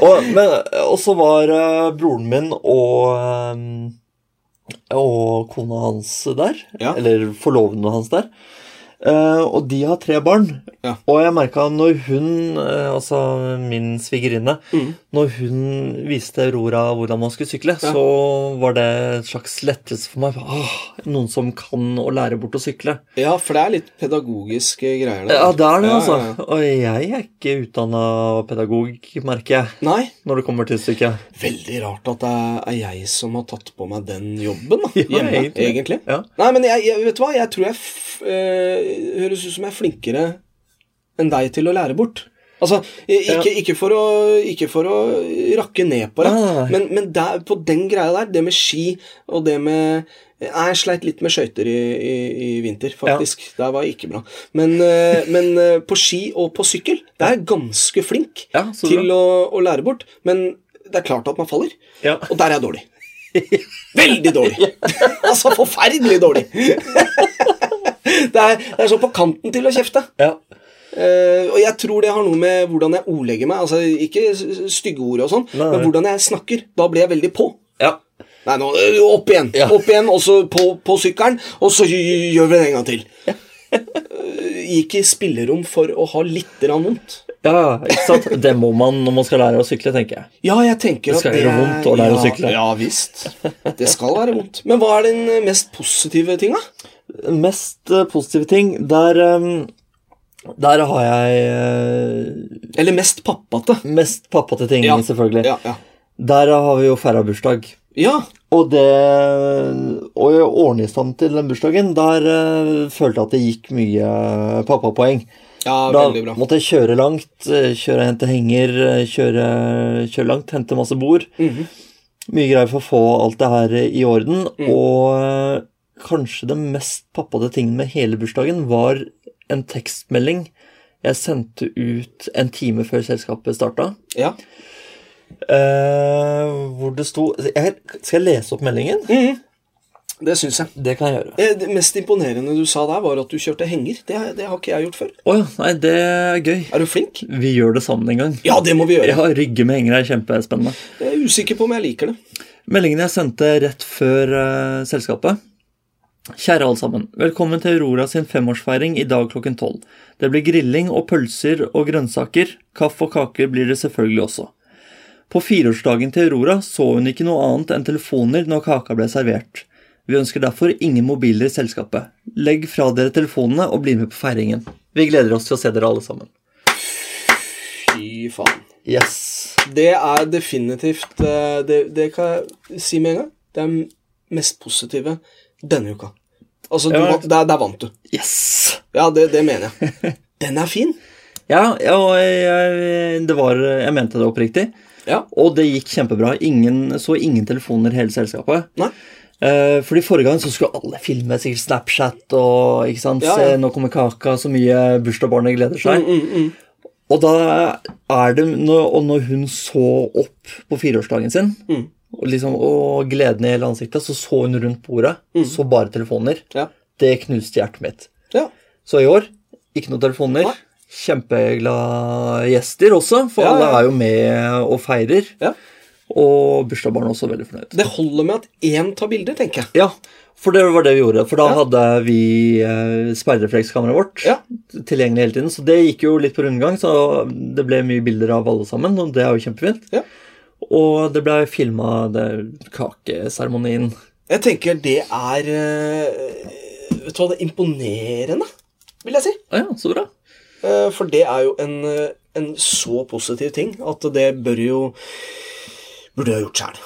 [SPEAKER 2] og, men, og så var eh, broren min og eh, Og kona hans der.
[SPEAKER 1] Ja.
[SPEAKER 2] Eller forloveden hans der. Eh, og de har tre barn.
[SPEAKER 1] Ja.
[SPEAKER 2] Og jeg merka når hun, eh, altså min svigerinne,
[SPEAKER 1] Mm.
[SPEAKER 2] når hun viste Aurora hvordan man skulle sykle, så var det et slags lettelse for meg. Åh, noen som kan å lære bort å sykle.
[SPEAKER 1] Ja, for det er litt pedagogiske greier der.
[SPEAKER 2] Ja, det er det,
[SPEAKER 1] Ja,
[SPEAKER 2] altså.
[SPEAKER 1] ja, ja.
[SPEAKER 2] Og jeg er ikke utdanna pedagog, merker jeg,
[SPEAKER 1] Nei,
[SPEAKER 2] når det kommer til stykket.
[SPEAKER 1] veldig rart at det er jeg som har tatt på meg den jobben da,
[SPEAKER 2] (laughs) Ja,
[SPEAKER 1] hjemme, egentlig.
[SPEAKER 2] egentlig. Ja.
[SPEAKER 1] Nei, men jeg, jeg, vet du hva, jeg tror jeg f eh, høres ut som jeg er flinkere enn deg til å lære bort. Altså, eh, ikke, ikke, for å, ikke for å rakke ned på det,
[SPEAKER 2] Nei.
[SPEAKER 1] men, men der, på den greia der, det med ski og det med Nei, Jeg sleit litt med skøyter i, i, i vinter, faktisk. Der var jeg ikke bra. Men, eh, men eh, på ski og på sykkel, der er jeg ganske flink
[SPEAKER 2] Ja, så
[SPEAKER 1] til
[SPEAKER 2] bra.
[SPEAKER 1] å, å lære bort. Men det er klart at man faller.
[SPEAKER 2] Ja.
[SPEAKER 1] Og der er jeg dårlig. Veldig
[SPEAKER 2] (laughs)
[SPEAKER 1] dårlig. (laughs) altså forferdelig dårlig. det, er, det er sånn på kanten til å kjefte.
[SPEAKER 2] Ja.
[SPEAKER 1] Eh, og jeg tror det har noe med hvordan jeg ordlegger meg. Altså Ikke s- s- stygge ord og sånn,
[SPEAKER 2] Nei.
[SPEAKER 1] men hvordan jeg snakker. Da blir jeg veldig på.
[SPEAKER 2] ja.
[SPEAKER 1] Nei, nå ø, opp igjen,
[SPEAKER 2] Ja.
[SPEAKER 1] opp igjen, og så på, på sykkelen, og så gj- gjør vi det en gang til.
[SPEAKER 2] (laughs)
[SPEAKER 1] Eh, Gikk i spillerom for å ha litt grann vondt.
[SPEAKER 2] Ja, ikke sant? Det må man når man skal lære å sykle, tenker jeg.
[SPEAKER 1] Ja, jeg tenker
[SPEAKER 2] Det
[SPEAKER 1] at
[SPEAKER 2] skal
[SPEAKER 1] det
[SPEAKER 2] gjøre vondt å lære
[SPEAKER 1] ja,
[SPEAKER 2] å sykle.
[SPEAKER 1] Ja visst. Det skal være vondt. Men hva er den eh, mest positive tinga?
[SPEAKER 2] Mest eh, positive ting, der eh, Der har jeg eh,
[SPEAKER 1] Eller mest pappate?
[SPEAKER 2] mest pappate ting,
[SPEAKER 1] Ja.
[SPEAKER 2] selvfølgelig.
[SPEAKER 1] Ja, ja.
[SPEAKER 2] Der har vi jo feira bursdag.
[SPEAKER 1] ja.
[SPEAKER 2] Og det å ordne i stand til den bursdagen, der eh, følte jeg at det gikk mye pappapoeng.
[SPEAKER 1] ja
[SPEAKER 2] Da
[SPEAKER 1] veldig bra.
[SPEAKER 2] måtte jeg kjøre langt, eh, kjøre og hente henger, eh, kjøre, kjøre langt, hente masse bord.
[SPEAKER 1] Mhm.
[SPEAKER 2] Mye greier for å få alt det her eh, i orden. Og eh, kanskje det mest pappate tingen med hele bursdagen var en tekstmelding jeg sendte ut en time før selskapet starta.
[SPEAKER 1] Ja.
[SPEAKER 2] Eh, hvor det sto jeg, Skal jeg lese opp meldingen?
[SPEAKER 1] Det syns jeg.
[SPEAKER 2] Det kan jeg gjøre.
[SPEAKER 1] Eh, Det mest imponerende du sa der, var at du kjørte henger. Det, det har ikke jeg gjort før.
[SPEAKER 2] Å ja, nei, det er gøy.
[SPEAKER 1] Er du flink?
[SPEAKER 2] Vi gjør det sammen en gang.
[SPEAKER 1] Ja, det må vi gjøre.
[SPEAKER 2] Ja, rygge med henger er kjempespennende.
[SPEAKER 1] Jeg er usikker på om jeg liker det.
[SPEAKER 2] Meldingen jeg sendte rett før eh, selskapet. Kjære alle sammen. Velkommen til Aurora sin femårsfeiring i dag klokken tolv. Det blir grilling og pølser og grønnsaker. Kaffe og kaker blir det selvfølgelig også. På fireårsdagen til Aurora så hun ikke noe annet enn telefoner når kaka ble servert. Vi ønsker derfor ingen mobiler i selskapet. Legg fra dere telefonene og bli med på feiringen. Vi gleder oss til å se dere alle sammen.
[SPEAKER 1] Fy faen.
[SPEAKER 2] Yes.
[SPEAKER 1] Det er definitivt eh, Det, det kan jeg si med en gang. Det er mest positive denne uka. Altså, du,
[SPEAKER 2] Ja.
[SPEAKER 1] vant- der, der vant du.
[SPEAKER 2] Yes!
[SPEAKER 1] Ja, det, det mener jeg. Den er fin.
[SPEAKER 2] Ja, ja og jeg, jeg, det var, jeg mente det oppriktig.
[SPEAKER 1] Ja.
[SPEAKER 2] Og det gikk kjempebra. Ingen, så ingen telefoner i hele selskapet.
[SPEAKER 1] Nei.
[SPEAKER 2] Eh, fordi Forrige gang så skulle alle filme sikkert Snapchat og ikke sant,
[SPEAKER 1] Ja, ja.
[SPEAKER 2] se 'Nå kommer kaka', så mye bursdagsbarnet gleder seg.
[SPEAKER 1] Mm, mm.
[SPEAKER 2] Og da er det, når- og når hun så opp på fireårsdagen sin,
[SPEAKER 1] Mm.
[SPEAKER 2] og, liksom, og gleden i hele ansiktet, så så hun rundt bordet, så bare telefoner.
[SPEAKER 1] Mm. Ja.
[SPEAKER 2] Det knuste hjertet mitt.
[SPEAKER 1] ja.
[SPEAKER 2] Så i år, ikke noen telefoner.
[SPEAKER 1] Nei.
[SPEAKER 2] Kjempeglade gjester også, for
[SPEAKER 1] Ja, ja.
[SPEAKER 2] alle er jo med og feirer.
[SPEAKER 1] Ja.
[SPEAKER 2] Og bursdagsbarnet også veldig fornøyd.
[SPEAKER 1] Det holder med at én tar bilder, tenker jeg.
[SPEAKER 2] Ja, for det var det vi gjorde. For da hadde vi eh, sperreflekskameraet vårt
[SPEAKER 1] Ja.
[SPEAKER 2] tilgjengelig hele tiden. Så det gikk jo litt på rundgang, så det ble mye bilder av alle sammen, og det er jo kjempefint.
[SPEAKER 1] Ja.
[SPEAKER 2] Og det ble filma kakeseremonien.
[SPEAKER 1] Jeg tenker det er eh, Vet du hva, det er imponerende, vil jeg si.
[SPEAKER 2] Å ja, så bra.
[SPEAKER 1] Eh, For det er jo en, eh, en så positiv ting at det bør jo Burde jeg ha gjort sjæl.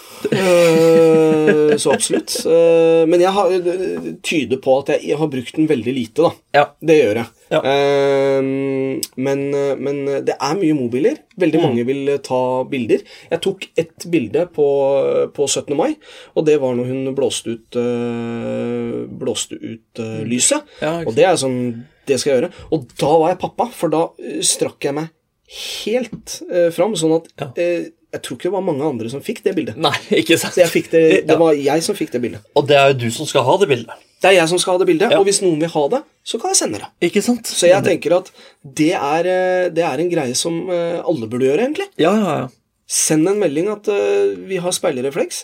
[SPEAKER 1] Så absolutt. Eh, Men jeg har, det tyder på at jeg har brukt den veldig lite, da.
[SPEAKER 2] Ja.
[SPEAKER 1] Det gjør jeg.
[SPEAKER 2] Ja.
[SPEAKER 1] Ehm, men, men eh, det er mye mobiler.
[SPEAKER 2] Mm.
[SPEAKER 1] Veldig mange vil eh, ta bilder. Jeg tok ett bilde på, på 17. mai, og det var når hun blåste ut, eh, blåste ut eh, lyset.
[SPEAKER 2] Mm. Ja, ikke
[SPEAKER 1] og det er sånn Det skal jeg gjøre. Og da var jeg pappa, for da eh, strakk jeg meg helt eh, fram, sånn at
[SPEAKER 2] Ja.
[SPEAKER 1] eh, Jeg tror ikke det var mange andre som fikk det bildet.
[SPEAKER 2] Nei, ikke sant.
[SPEAKER 1] Så jeg fikk det, det
[SPEAKER 2] Ja.
[SPEAKER 1] var jeg som fikk det bildet.
[SPEAKER 2] Og det er jo du som skal ha det bildet.
[SPEAKER 1] Det er jeg som skal ha det bildet,
[SPEAKER 2] Ja.
[SPEAKER 1] og hvis noen vil ha det, så kan jeg sende det.
[SPEAKER 2] Ikke sant?
[SPEAKER 1] Så jeg tenker at det er, eh, det er en greie som eh, alle burde gjøre, egentlig.
[SPEAKER 2] Ja, ja, ja.
[SPEAKER 1] Send en melding at eh, vi har speilrefleks.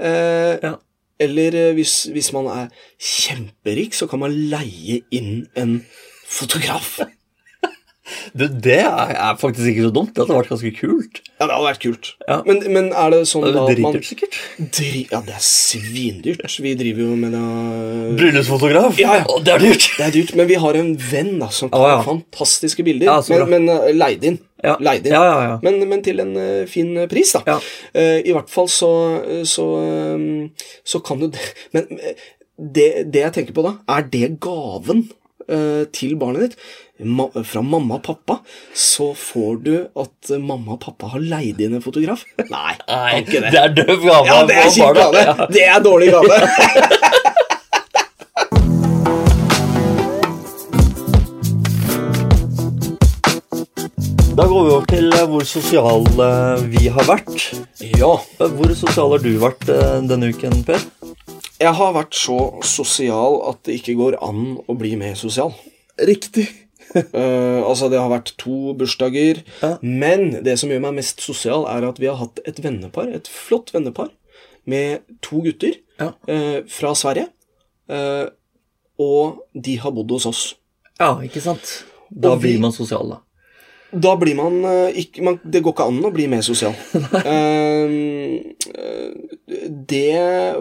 [SPEAKER 1] Eh,
[SPEAKER 2] Ja.
[SPEAKER 1] Eller eh, hvis, hvis man er kjemperik, så kan man leie inn en fotograf.
[SPEAKER 2] Du, det er er faktisk ikke så dumt. Det hadde vært ganske kult.
[SPEAKER 1] Ja, det hadde vært kult.
[SPEAKER 2] Ja.
[SPEAKER 1] Men, men er det sånn
[SPEAKER 2] Det
[SPEAKER 1] da
[SPEAKER 2] er
[SPEAKER 1] at man
[SPEAKER 2] dritdyrt, sikkert.
[SPEAKER 1] dri Ja, det er svindyrt. Vi driver jo med det
[SPEAKER 2] Bryllupsfotograf?
[SPEAKER 1] Ja, ja.
[SPEAKER 2] Å, Det er dyrt.
[SPEAKER 1] Det er dyrt, men vi har en venn da, som tar
[SPEAKER 2] Ja, ja.
[SPEAKER 1] fantastiske bilder.
[SPEAKER 2] Ja, så bra.
[SPEAKER 1] men men eh, leid inn.
[SPEAKER 2] Ja.
[SPEAKER 1] Leid inn.
[SPEAKER 2] Ja, ja, ja.
[SPEAKER 1] Men, men til en eh, fin eh, pris, da.
[SPEAKER 2] Ja.
[SPEAKER 1] Eh, I hvert fall så Så, eh, så kan du det Men eh, det, det jeg tenker på da, er det gaven eh, til barnet ditt? Ma, fra mamma og pappa så får du at eh, mamma og pappa har leid inn en fotograf? Nei,
[SPEAKER 2] Nei,
[SPEAKER 1] kan ikke det.
[SPEAKER 2] det er døv gave.
[SPEAKER 1] Ja, det er
[SPEAKER 2] av
[SPEAKER 1] kjip
[SPEAKER 2] barna.
[SPEAKER 1] gave.
[SPEAKER 2] Ja.
[SPEAKER 1] Det er dårlig gave.
[SPEAKER 2] Da går vi over til eh, hvor sosiale vi har vært.
[SPEAKER 1] ja.
[SPEAKER 2] Eh, Hvor sosial har du vært eh, denne uken, Per?
[SPEAKER 1] Jeg har vært så sosial at det ikke går an å bli mer sosial.
[SPEAKER 2] Riktig.
[SPEAKER 1] (laughs) Eh, altså, det har vært to bursdager.
[SPEAKER 2] Ja.
[SPEAKER 1] Men det som gjør meg mest sosial, er at vi har hatt et vennepar, et flott vennepar, med to gutter
[SPEAKER 2] Ja.
[SPEAKER 1] eh, fra Sverige. Eh, og de har bodd hos oss.
[SPEAKER 2] Ja, ikke sant? Da
[SPEAKER 1] Og vi-
[SPEAKER 2] blir man sosial, da.
[SPEAKER 1] Da blir man eh, ikke man, Det går ikke an å bli mer
[SPEAKER 2] (laughs)
[SPEAKER 1] sosial. Ehm, eh, det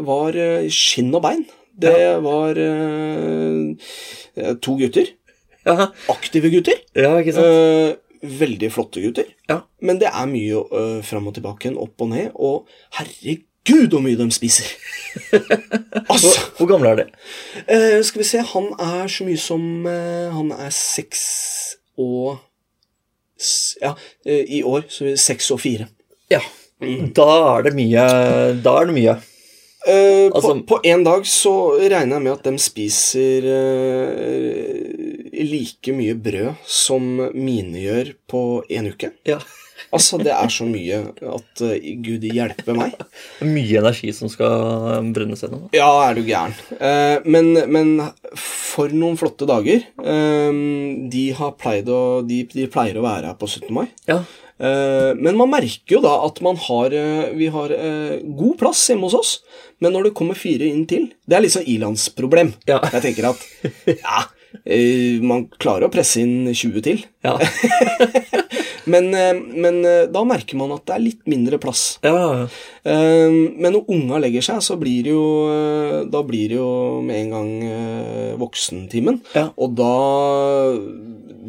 [SPEAKER 1] var eh, skinn og bein. Det var eh, eh, to gutter.
[SPEAKER 2] Ja,
[SPEAKER 1] Aktive gutter.
[SPEAKER 2] ja ikke sant?
[SPEAKER 1] Eh, veldig flotte gutter.
[SPEAKER 2] Ja.
[SPEAKER 1] Men det er mye eh, fram og tilbake, opp og ned, og herregud hvor mye de
[SPEAKER 2] (laughs)
[SPEAKER 1] spiser! altså!
[SPEAKER 2] Hvor, hvor gamle er de?
[SPEAKER 1] Eh, skal vi se, han er så mye som eh, Han er seks og s- Ja, eh, i år så er det seks og fire.
[SPEAKER 2] Ja. Da er det mye. Da er det mye.
[SPEAKER 1] Eh,
[SPEAKER 2] Altså-
[SPEAKER 1] på én dag så regner jeg med at de spiser eh, like mye brød som mine gjør på én uke.
[SPEAKER 2] Ja.
[SPEAKER 1] Altså, det er så mye at eh, gud hjelpe meg.
[SPEAKER 2] Mye energi som skal brennes gjennom. da.
[SPEAKER 1] Ja, er du gæren. Eh, men, men for noen flotte dager. Eh, de, har pleid å, de, de pleier å være her på 17. mai.
[SPEAKER 2] Ja.
[SPEAKER 1] Eh, men man merker jo da at man har eh, Vi har eh, god plass hjemme hos oss, men når det kommer fire inn til Det er litt sånn ilandsproblem.
[SPEAKER 2] Ja.
[SPEAKER 1] Jeg tenker at ja, eh, man klarer å presse inn 20 til.
[SPEAKER 2] Ja.
[SPEAKER 1] (laughs) Men, eh, men eh, da merker man at det er litt mindre plass.
[SPEAKER 2] ja. ja.
[SPEAKER 1] Eh, Men når unga legger seg, så blir det jo eh, Da blir det jo med en gang eh, voksentimen.
[SPEAKER 2] Ja.
[SPEAKER 1] Og da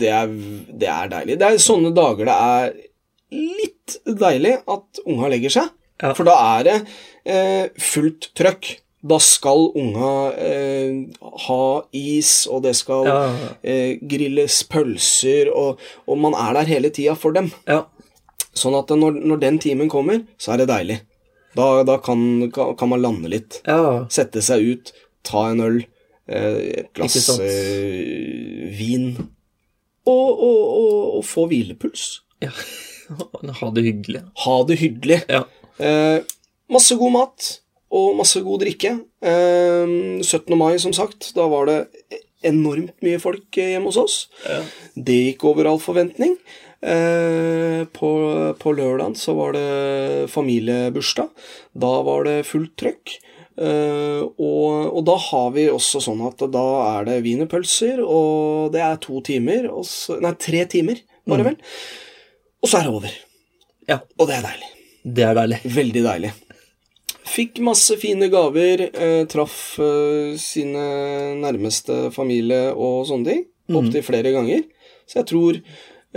[SPEAKER 1] det er, det er deilig. Det er sånne dager det er litt deilig at unga legger seg.
[SPEAKER 2] Ja.
[SPEAKER 1] For da er det eh, fullt trøkk. Da skal unga eh, ha is, og det skal
[SPEAKER 2] Ja, ja, ja.
[SPEAKER 1] eh, grilles pølser, og, og man er der hele tida for dem.
[SPEAKER 2] ja.
[SPEAKER 1] Sånn at når, når den timen kommer, så er det deilig. Da, da kan, kan kan man lande litt.
[SPEAKER 2] ja.
[SPEAKER 1] Sette seg ut, ta en øl, eh, et
[SPEAKER 2] Ikke
[SPEAKER 1] glass
[SPEAKER 2] sant.
[SPEAKER 1] eh, vin. Og, og, og, og få hvilepuls.
[SPEAKER 2] Ja. (laughs) Ha det hyggelig.
[SPEAKER 1] Ha det hyggelig.
[SPEAKER 2] Ja.
[SPEAKER 1] Eh, masse god mat og masse god drikke. Eh, 17. mai, som sagt, da var det enormt mye folk eh, hjemme hos oss.
[SPEAKER 2] Ja.
[SPEAKER 1] Det gikk over all forventning. Eh, på, på lørdagen så var det familiebursdag. Da var det fullt trøkk. Eh, og, og da har vi også sånn at da er det wienerpølser, og det er to timer og så, Nei, tre timer, var det vel. Og så er det over.
[SPEAKER 2] Mm. Ja.
[SPEAKER 1] Og det er deilig.
[SPEAKER 2] Det er deilig.
[SPEAKER 1] Veldig deilig. Fikk masse fine gaver, eh, traff eh, sine nærmeste familie og sånne ting. Opptil flere ganger. Så jeg tror,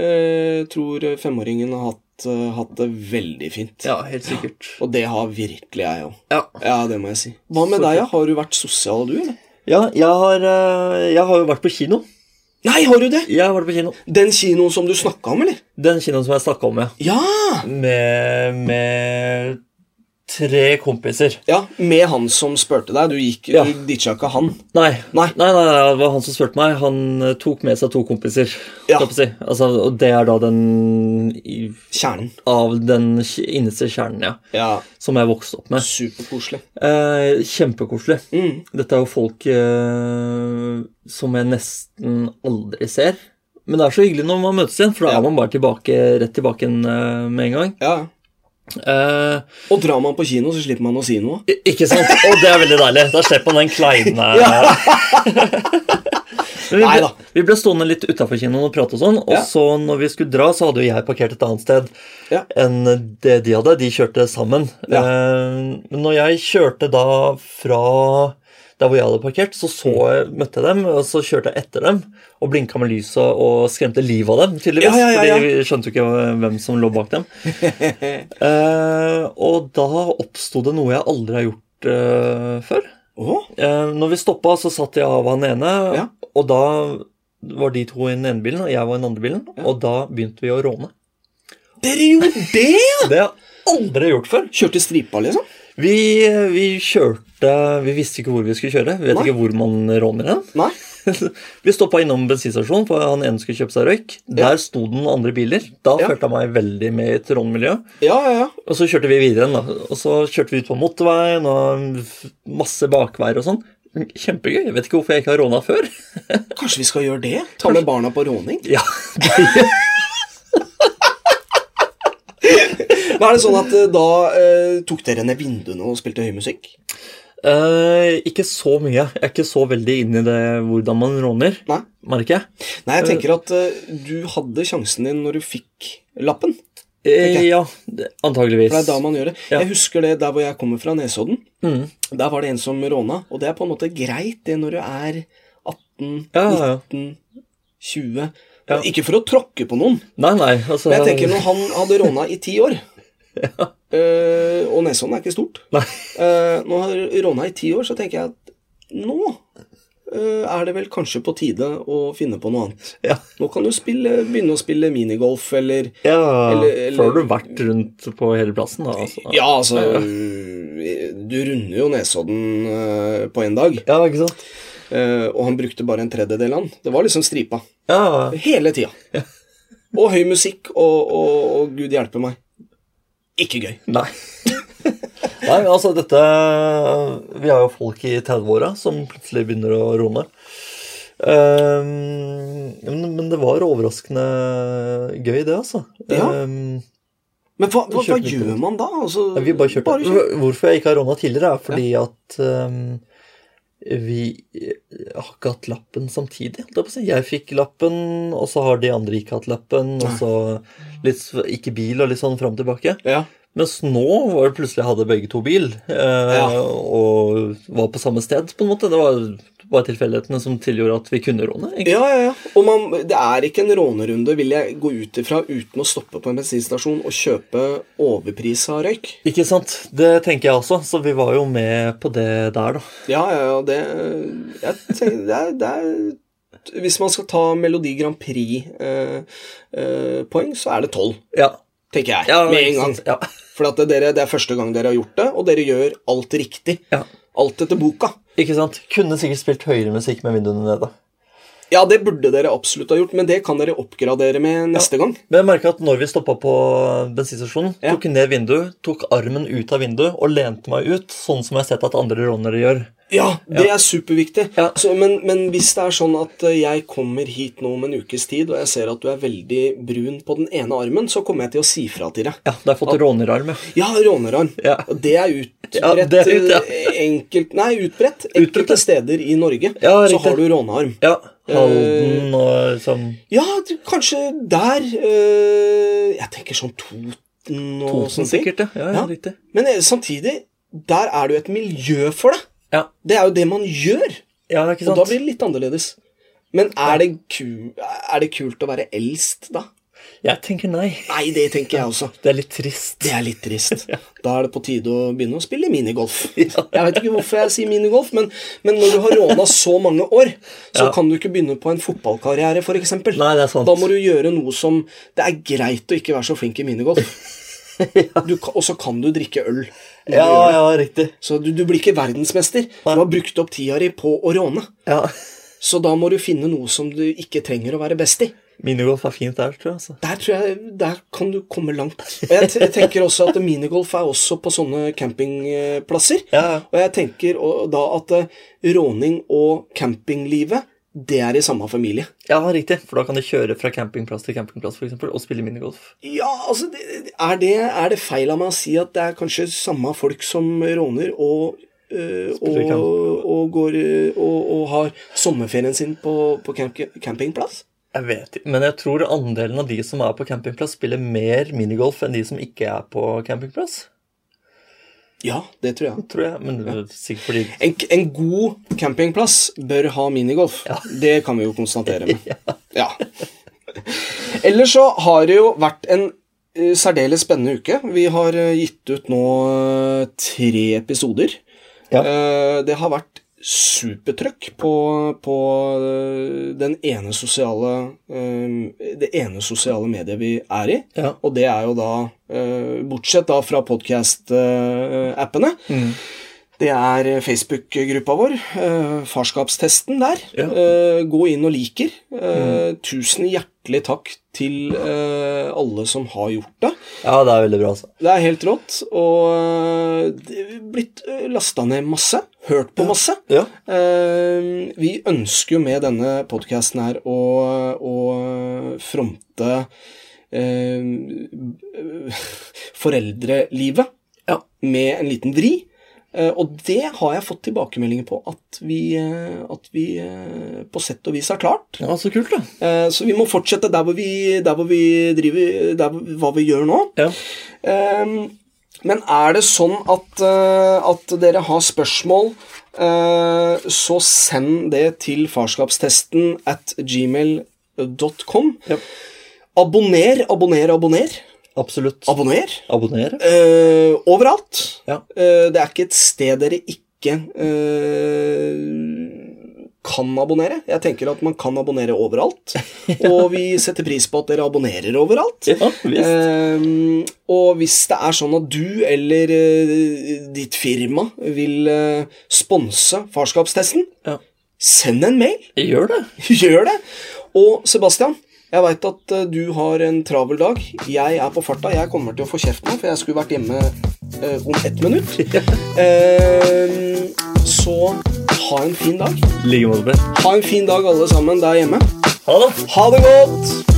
[SPEAKER 1] eh, tror femåringen har hatt, eh, hatt det veldig fint.
[SPEAKER 2] Ja, helt sikkert.
[SPEAKER 1] Og det har virkelig jeg òg.
[SPEAKER 2] Ja.
[SPEAKER 1] Ja, det må jeg si. Hva med
[SPEAKER 2] Så
[SPEAKER 1] deg, ja? Har du vært sosial, du, eller?
[SPEAKER 2] Ja, jeg har, eh, jeg har jo vært på kino.
[SPEAKER 1] Nei, har du det?
[SPEAKER 2] Jeg har vært på kino.
[SPEAKER 1] Den kinoen som du snakka om, eller?
[SPEAKER 2] Den kinoen som jeg snakka om, ja.
[SPEAKER 1] Ja!
[SPEAKER 2] Med, med tre kompiser.
[SPEAKER 1] Ja, Med han som spurte deg. Du gikk,
[SPEAKER 2] Ja.
[SPEAKER 1] du ditcha ikke han.
[SPEAKER 2] Nei.
[SPEAKER 1] Nei.
[SPEAKER 2] Nei, nei, nei, det var han som spurte meg. Han eh, tok med seg to kompiser.
[SPEAKER 1] Ja.
[SPEAKER 2] skal jeg på Si. Altså, og det er da den i-
[SPEAKER 1] Kjernen.
[SPEAKER 2] av den kj- innerste kjernen, ja.
[SPEAKER 1] Ja,
[SPEAKER 2] Som jeg vokste opp med.
[SPEAKER 1] Superkoselig.
[SPEAKER 2] Eh, kjempekoselig.
[SPEAKER 1] Mm.
[SPEAKER 2] Dette er jo folk eh, som jeg nesten aldri ser. Men det er så hyggelig når man møtes igjen, for da
[SPEAKER 1] Ja.
[SPEAKER 2] er man bare tilbake, rett tilbake igjen eh, med en gang.
[SPEAKER 1] Ja,
[SPEAKER 2] Eh,
[SPEAKER 1] Og drar man på kino, så slipper man å si noe.
[SPEAKER 2] I- Ikke sant? Og det er veldig deilig. Da slipper man den kleine
[SPEAKER 1] (laughs)
[SPEAKER 2] Men vi, ble,
[SPEAKER 1] Neida.
[SPEAKER 2] vi ble stående litt utafor kinoen og prate og sånn, og
[SPEAKER 1] Ja.
[SPEAKER 2] så når vi skulle dra, så hadde jo jeg parkert et annet sted
[SPEAKER 1] Ja.
[SPEAKER 2] enn det de hadde. De kjørte sammen.
[SPEAKER 1] Ja.
[SPEAKER 2] Eh, Men når jeg kjørte da fra der hvor jeg hadde parkert, så, så
[SPEAKER 1] Mm.
[SPEAKER 2] jeg, møtte jeg dem, og så kjørte jeg etter dem og blinka med lyset og skremte livet av dem, tydeligvis.
[SPEAKER 1] Ja, ja, ja, ja.
[SPEAKER 2] Fordi vi skjønte jo ikke hvem som lå bak
[SPEAKER 1] (laughs)
[SPEAKER 2] dem. Eh, og da oppsto det noe jeg aldri har gjort eh, før.
[SPEAKER 1] Å?
[SPEAKER 2] Eh, når vi stoppa, så satt jeg av han ene,
[SPEAKER 1] Ja.
[SPEAKER 2] og da var de to i den ene bilen, og jeg var i den andre bilen, og da begynte vi å råne.
[SPEAKER 1] Dere gjorde det?!
[SPEAKER 2] Det har jeg aldri gjort før.
[SPEAKER 1] Kjørte stripa, liksom?
[SPEAKER 2] Vi, vi kjørte Vi visste ikke hvor vi skulle kjøre. Vi vet
[SPEAKER 1] Nei.
[SPEAKER 2] ikke hvor man råner hen.
[SPEAKER 1] Nei?
[SPEAKER 2] (laughs) vi stoppa innom bensinstasjonen, for han ene skulle kjøpe seg røyk.
[SPEAKER 1] Ja.
[SPEAKER 2] Der sto det noen andre biler. Da
[SPEAKER 1] Ja.
[SPEAKER 2] følte jeg meg veldig med i et rånmiljø.
[SPEAKER 1] Ja, ja, ja.
[SPEAKER 2] Og så kjørte vi videre igjen, da. Og så kjørte vi ut på motorveien og masse bakveier og sånn. Kjempegøy. Jeg vet ikke hvorfor jeg ikke har råna før.
[SPEAKER 1] Kanskje vi skal gjøre det? Ta med barna på råning?
[SPEAKER 2] Ja,
[SPEAKER 1] (laughs) Men er det sånn at eh, da eh, tok dere ned vinduene og spilte høy musikk?
[SPEAKER 2] eh, Ikke så mye. Jeg er ikke så veldig inn i det hvordan man råner,
[SPEAKER 1] Nei?
[SPEAKER 2] merker jeg.
[SPEAKER 1] Nei, jeg tenker at eh, du hadde sjansen din når du fikk lappen.
[SPEAKER 2] Eh,
[SPEAKER 1] Ok.
[SPEAKER 2] Ja, det- antageligvis.
[SPEAKER 1] For det er da man gjør det.
[SPEAKER 2] Ja.
[SPEAKER 1] Jeg husker det der hvor jeg kommer fra, Nesodden.
[SPEAKER 2] Mm.
[SPEAKER 1] Der var det en som råna, og det er på en måte greit det når du er 18,
[SPEAKER 2] Ja, ja, ja.
[SPEAKER 1] 19, 20
[SPEAKER 2] Ja.
[SPEAKER 1] Ikke for å tråkke på noen,
[SPEAKER 2] Nei, nei, altså
[SPEAKER 1] men jeg tenker når han hadde råna i ti
[SPEAKER 2] (laughs)
[SPEAKER 1] år eh, Og Nesodden er ikke stort.
[SPEAKER 2] Nei.
[SPEAKER 1] (laughs) Eh, Når han har råna i ti år, så tenker jeg at nå eh, er det vel kanskje på tide å finne på noe annet.
[SPEAKER 2] (laughs) Ja.
[SPEAKER 1] Nå kan du spille, begynne å spille minigolf eller
[SPEAKER 2] Ja,
[SPEAKER 1] Eller- eller-
[SPEAKER 2] for har du vært rundt på hele plassen, da? Altså.
[SPEAKER 1] Ja, altså Du runder jo Nesodden eh, på én dag.
[SPEAKER 2] ja, ikke sant?
[SPEAKER 1] Eh, og han brukte bare en tredjedel av den. Det var liksom stripa.
[SPEAKER 2] Ja,
[SPEAKER 1] Hele tida. Og høy musikk, og, og, og gud hjelpe meg. Ikke gøy.
[SPEAKER 2] Nei. (laughs) Nei, men altså dette Vi har jo folk i 30-åra som plutselig begynner å råne. Ehm, men, men det var overraskende gøy, det, altså.
[SPEAKER 1] Ja.
[SPEAKER 2] Ehm,
[SPEAKER 1] Men hva, hva, hva
[SPEAKER 2] Kjørte litt
[SPEAKER 1] gjør
[SPEAKER 2] rundt.
[SPEAKER 1] man da? Altså,
[SPEAKER 2] ja, vi bare kjørte.
[SPEAKER 1] kjør.
[SPEAKER 2] Hvorfor jeg ikke har råna tidligere, er fordi at ehm, vi eh, har ikke hatt lappen samtidig. holdt jeg på å si. Jeg fikk lappen, og så har de andre ikke hatt lappen. Og så litt s- ikke bil og litt sånn fram og tilbake.
[SPEAKER 1] Ja.
[SPEAKER 2] Mens nå var det plutselig hadde begge to bil, eh,
[SPEAKER 1] Ja.
[SPEAKER 2] og var på samme sted, på en måte. Det var bare tilfeldighetene som tilgjorde at vi kunne råne. egentlig.
[SPEAKER 1] ja, ja, ja. Og man, det er ikke en rånerunde, vil jeg gå ut ifra, uten å stoppe på en bensinstasjon og kjøpe overprisa røyk.
[SPEAKER 2] Ikke sant? Det tenker jeg også, så vi var jo med på det der, da.
[SPEAKER 1] Ja, ja, ja, det Jeg tenker det er, det er Hvis man skal ta Melodi Grand Prix-poeng, eh, poeng, så er det tolv,
[SPEAKER 2] Ja.
[SPEAKER 1] tenker jeg.
[SPEAKER 2] Ja,
[SPEAKER 1] med
[SPEAKER 2] ikke
[SPEAKER 1] en gang.
[SPEAKER 2] sant? Ja.
[SPEAKER 1] For at dere, det er første gang dere har gjort det, og dere gjør alt riktig.
[SPEAKER 2] Ja.
[SPEAKER 1] Alt etter boka.
[SPEAKER 2] Ikke sant? Kunne sikkert spilt høyere musikk med vinduene nede.
[SPEAKER 1] Ja, det burde dere absolutt ha gjort, men det kan dere oppgradere med neste gang.
[SPEAKER 2] Men jeg merka at når vi stoppa på bensinstasjonen,
[SPEAKER 1] Ja.
[SPEAKER 2] tok ned vinduet, tok armen ut av vinduet og lente meg ut, sånn som jeg har sett at andre rånere gjør.
[SPEAKER 1] Ja, det er superviktig.
[SPEAKER 2] Ja.
[SPEAKER 1] Så, men, men hvis det er sånn at eh, jeg kommer hit nå om en ukes tid, og jeg ser at du er veldig brun på den ene armen, så kommer jeg til å si fra til deg.
[SPEAKER 2] Ja, da har jeg fått rånerarm, ja.
[SPEAKER 1] Ja, rånerarm.
[SPEAKER 2] Ja.
[SPEAKER 1] Og Det er utbredt
[SPEAKER 2] Ja, det er ut, ja.
[SPEAKER 1] eh, enkelt Nei, utbredt.
[SPEAKER 2] Utbredt,
[SPEAKER 1] Enkelte steder i Norge
[SPEAKER 2] Ja,
[SPEAKER 1] så
[SPEAKER 2] riktig.
[SPEAKER 1] har du rånearm.
[SPEAKER 2] Ja, Halden og sånn
[SPEAKER 1] Ja, du- kanskje der eh, Jeg tenker sånn Toten og sånne
[SPEAKER 2] Posen
[SPEAKER 1] ting.
[SPEAKER 2] sikkert, ja. Ja, ja.
[SPEAKER 1] Ja.
[SPEAKER 2] Riktig.
[SPEAKER 1] Men eh, samtidig, der er det jo et miljø for det.
[SPEAKER 2] Ja.
[SPEAKER 1] Det er jo det man gjør,
[SPEAKER 2] Ja, ikke
[SPEAKER 1] og
[SPEAKER 2] sant?
[SPEAKER 1] da blir det litt annerledes. Men er det, ku, er det kult å være eldst, da?
[SPEAKER 2] Jeg tenker nei.
[SPEAKER 1] Nei, det tenker jeg også.
[SPEAKER 2] Det er litt trist.
[SPEAKER 1] Det er litt
[SPEAKER 2] (laughs)
[SPEAKER 1] trist. Da er det på tide å begynne å spille minigolf. Jeg vet ikke hvorfor jeg sier minigolf, men, men når du har råna så mange år, så
[SPEAKER 2] Ja.
[SPEAKER 1] kan du ikke begynne på en fotballkarriere, f.eks.
[SPEAKER 2] Nei, det er sant.
[SPEAKER 1] Da må du gjøre noe som Det er greit å ikke være så flink i
[SPEAKER 2] (laughs)
[SPEAKER 1] minigolf. Du kan- Og så kan du drikke øl. når du
[SPEAKER 2] Ja,
[SPEAKER 1] gjør det.
[SPEAKER 2] ja, riktig.
[SPEAKER 1] Så du, du blir ikke verdensmester. Du har brukt opp tida di på å råne.
[SPEAKER 2] Ja.
[SPEAKER 1] Så da må du finne noe som du ikke trenger å være best i.
[SPEAKER 2] Minigolf er fint der, tror jeg. Altså.
[SPEAKER 1] Der tror jeg, der kan du komme langt. Og jeg, t jeg tenker også at minigolf er også på sånne campingplasser.
[SPEAKER 2] Ja, ja.
[SPEAKER 1] Og jeg tenker og- da at eh, råning og campinglivet det er i samme familie.
[SPEAKER 2] Ja, riktig. For da kan de kjøre fra campingplass til campingplass for eksempel, og spille minigolf.
[SPEAKER 1] Ja, altså, det- er det, er det feil av meg å si at det er kanskje samme folk som råner og øh,
[SPEAKER 2] Spiller
[SPEAKER 1] og, og, går, øh, og, og har sommerferien sin på, på camp campingplass?
[SPEAKER 2] Jeg vet ikke, men jeg tror andelen av de som er på campingplass, spiller mer minigolf enn de som ikke er på campingplass.
[SPEAKER 1] Ja, det tror jeg.
[SPEAKER 2] Tror jeg, men det er sikkert fordi
[SPEAKER 1] En, en god campingplass bør ha minigolf. Det kan vi jo konstatere
[SPEAKER 2] (laughs)
[SPEAKER 1] med. Ja. Ellers så har det jo vært en eh, særdeles spennende uke. Vi har eh, gitt ut nå eh, tre episoder.
[SPEAKER 2] Ja.
[SPEAKER 1] Eh, Det har vært supertrøkk på, på eh, den ene sosiale eh, det ene sosiale mediet vi er i.
[SPEAKER 2] Ja.
[SPEAKER 1] Og det er jo da, eh, bortsett da fra eh, podkast-appene,
[SPEAKER 2] Mm.
[SPEAKER 1] det er Facebook-gruppa vår. eh, Farskapstesten der.
[SPEAKER 2] Ja. Mm.
[SPEAKER 1] Eh, Gå inn og liker. Eh, Tusen hjertelig takk til eh, alle som har gjort det.
[SPEAKER 2] ja, det er veldig bra, altså.
[SPEAKER 1] Det er helt rått. Og eh, det er blitt lasta ned masse. Hørt på masse.
[SPEAKER 2] Ja.
[SPEAKER 1] Eh, Vi ønsker jo med denne podkasten her å, å fronte eh, foreldrelivet
[SPEAKER 2] Ja.
[SPEAKER 1] med en liten vri. Eh, Og det har jeg fått tilbakemeldinger på at vi, eh, at vi eh, på sett og vis har klart.
[SPEAKER 2] ja, så kult, da.
[SPEAKER 1] Eh, Så vi må fortsette der hvor vi, der hvor vi driver der hvor, Hva vi gjør nå.
[SPEAKER 2] Ja.
[SPEAKER 1] Ehm, men er det sånn at, eh, at dere har spørsmål, eh, så send det til farskapstesten at gmail.com.
[SPEAKER 2] Ja.
[SPEAKER 1] Abonner, abonner, abonner.
[SPEAKER 2] Absolutt.
[SPEAKER 1] Abonner.
[SPEAKER 2] Abonner.
[SPEAKER 1] Eh, overalt.
[SPEAKER 2] Ja.
[SPEAKER 1] Eh, det er ikke et sted dere ikke eh, kan abonnere. Jeg tenker at man kan abonnere
[SPEAKER 2] (laughs)
[SPEAKER 1] overalt. Og vi setter pris på at dere abonnerer overalt.
[SPEAKER 2] Ja, visst.
[SPEAKER 1] Ehm, og hvis det er sånn at du eller eh, ditt firma vil eh, sponse farskapstesten,
[SPEAKER 2] Ja.
[SPEAKER 1] send en mail.
[SPEAKER 2] Gjør det.
[SPEAKER 1] (laughs) Gjør det! Og Sebastian, jeg veit at eh, du har en travel dag. Jeg er på farta. Jeg kommer til å få kjeft nå, for jeg skulle vært hjemme eh, om ett minutt. Ehm, så ha en fin dag.
[SPEAKER 2] I like måte.
[SPEAKER 1] Ha en fin dag, alle sammen der hjemme.
[SPEAKER 2] Ha det.
[SPEAKER 1] Ha det godt!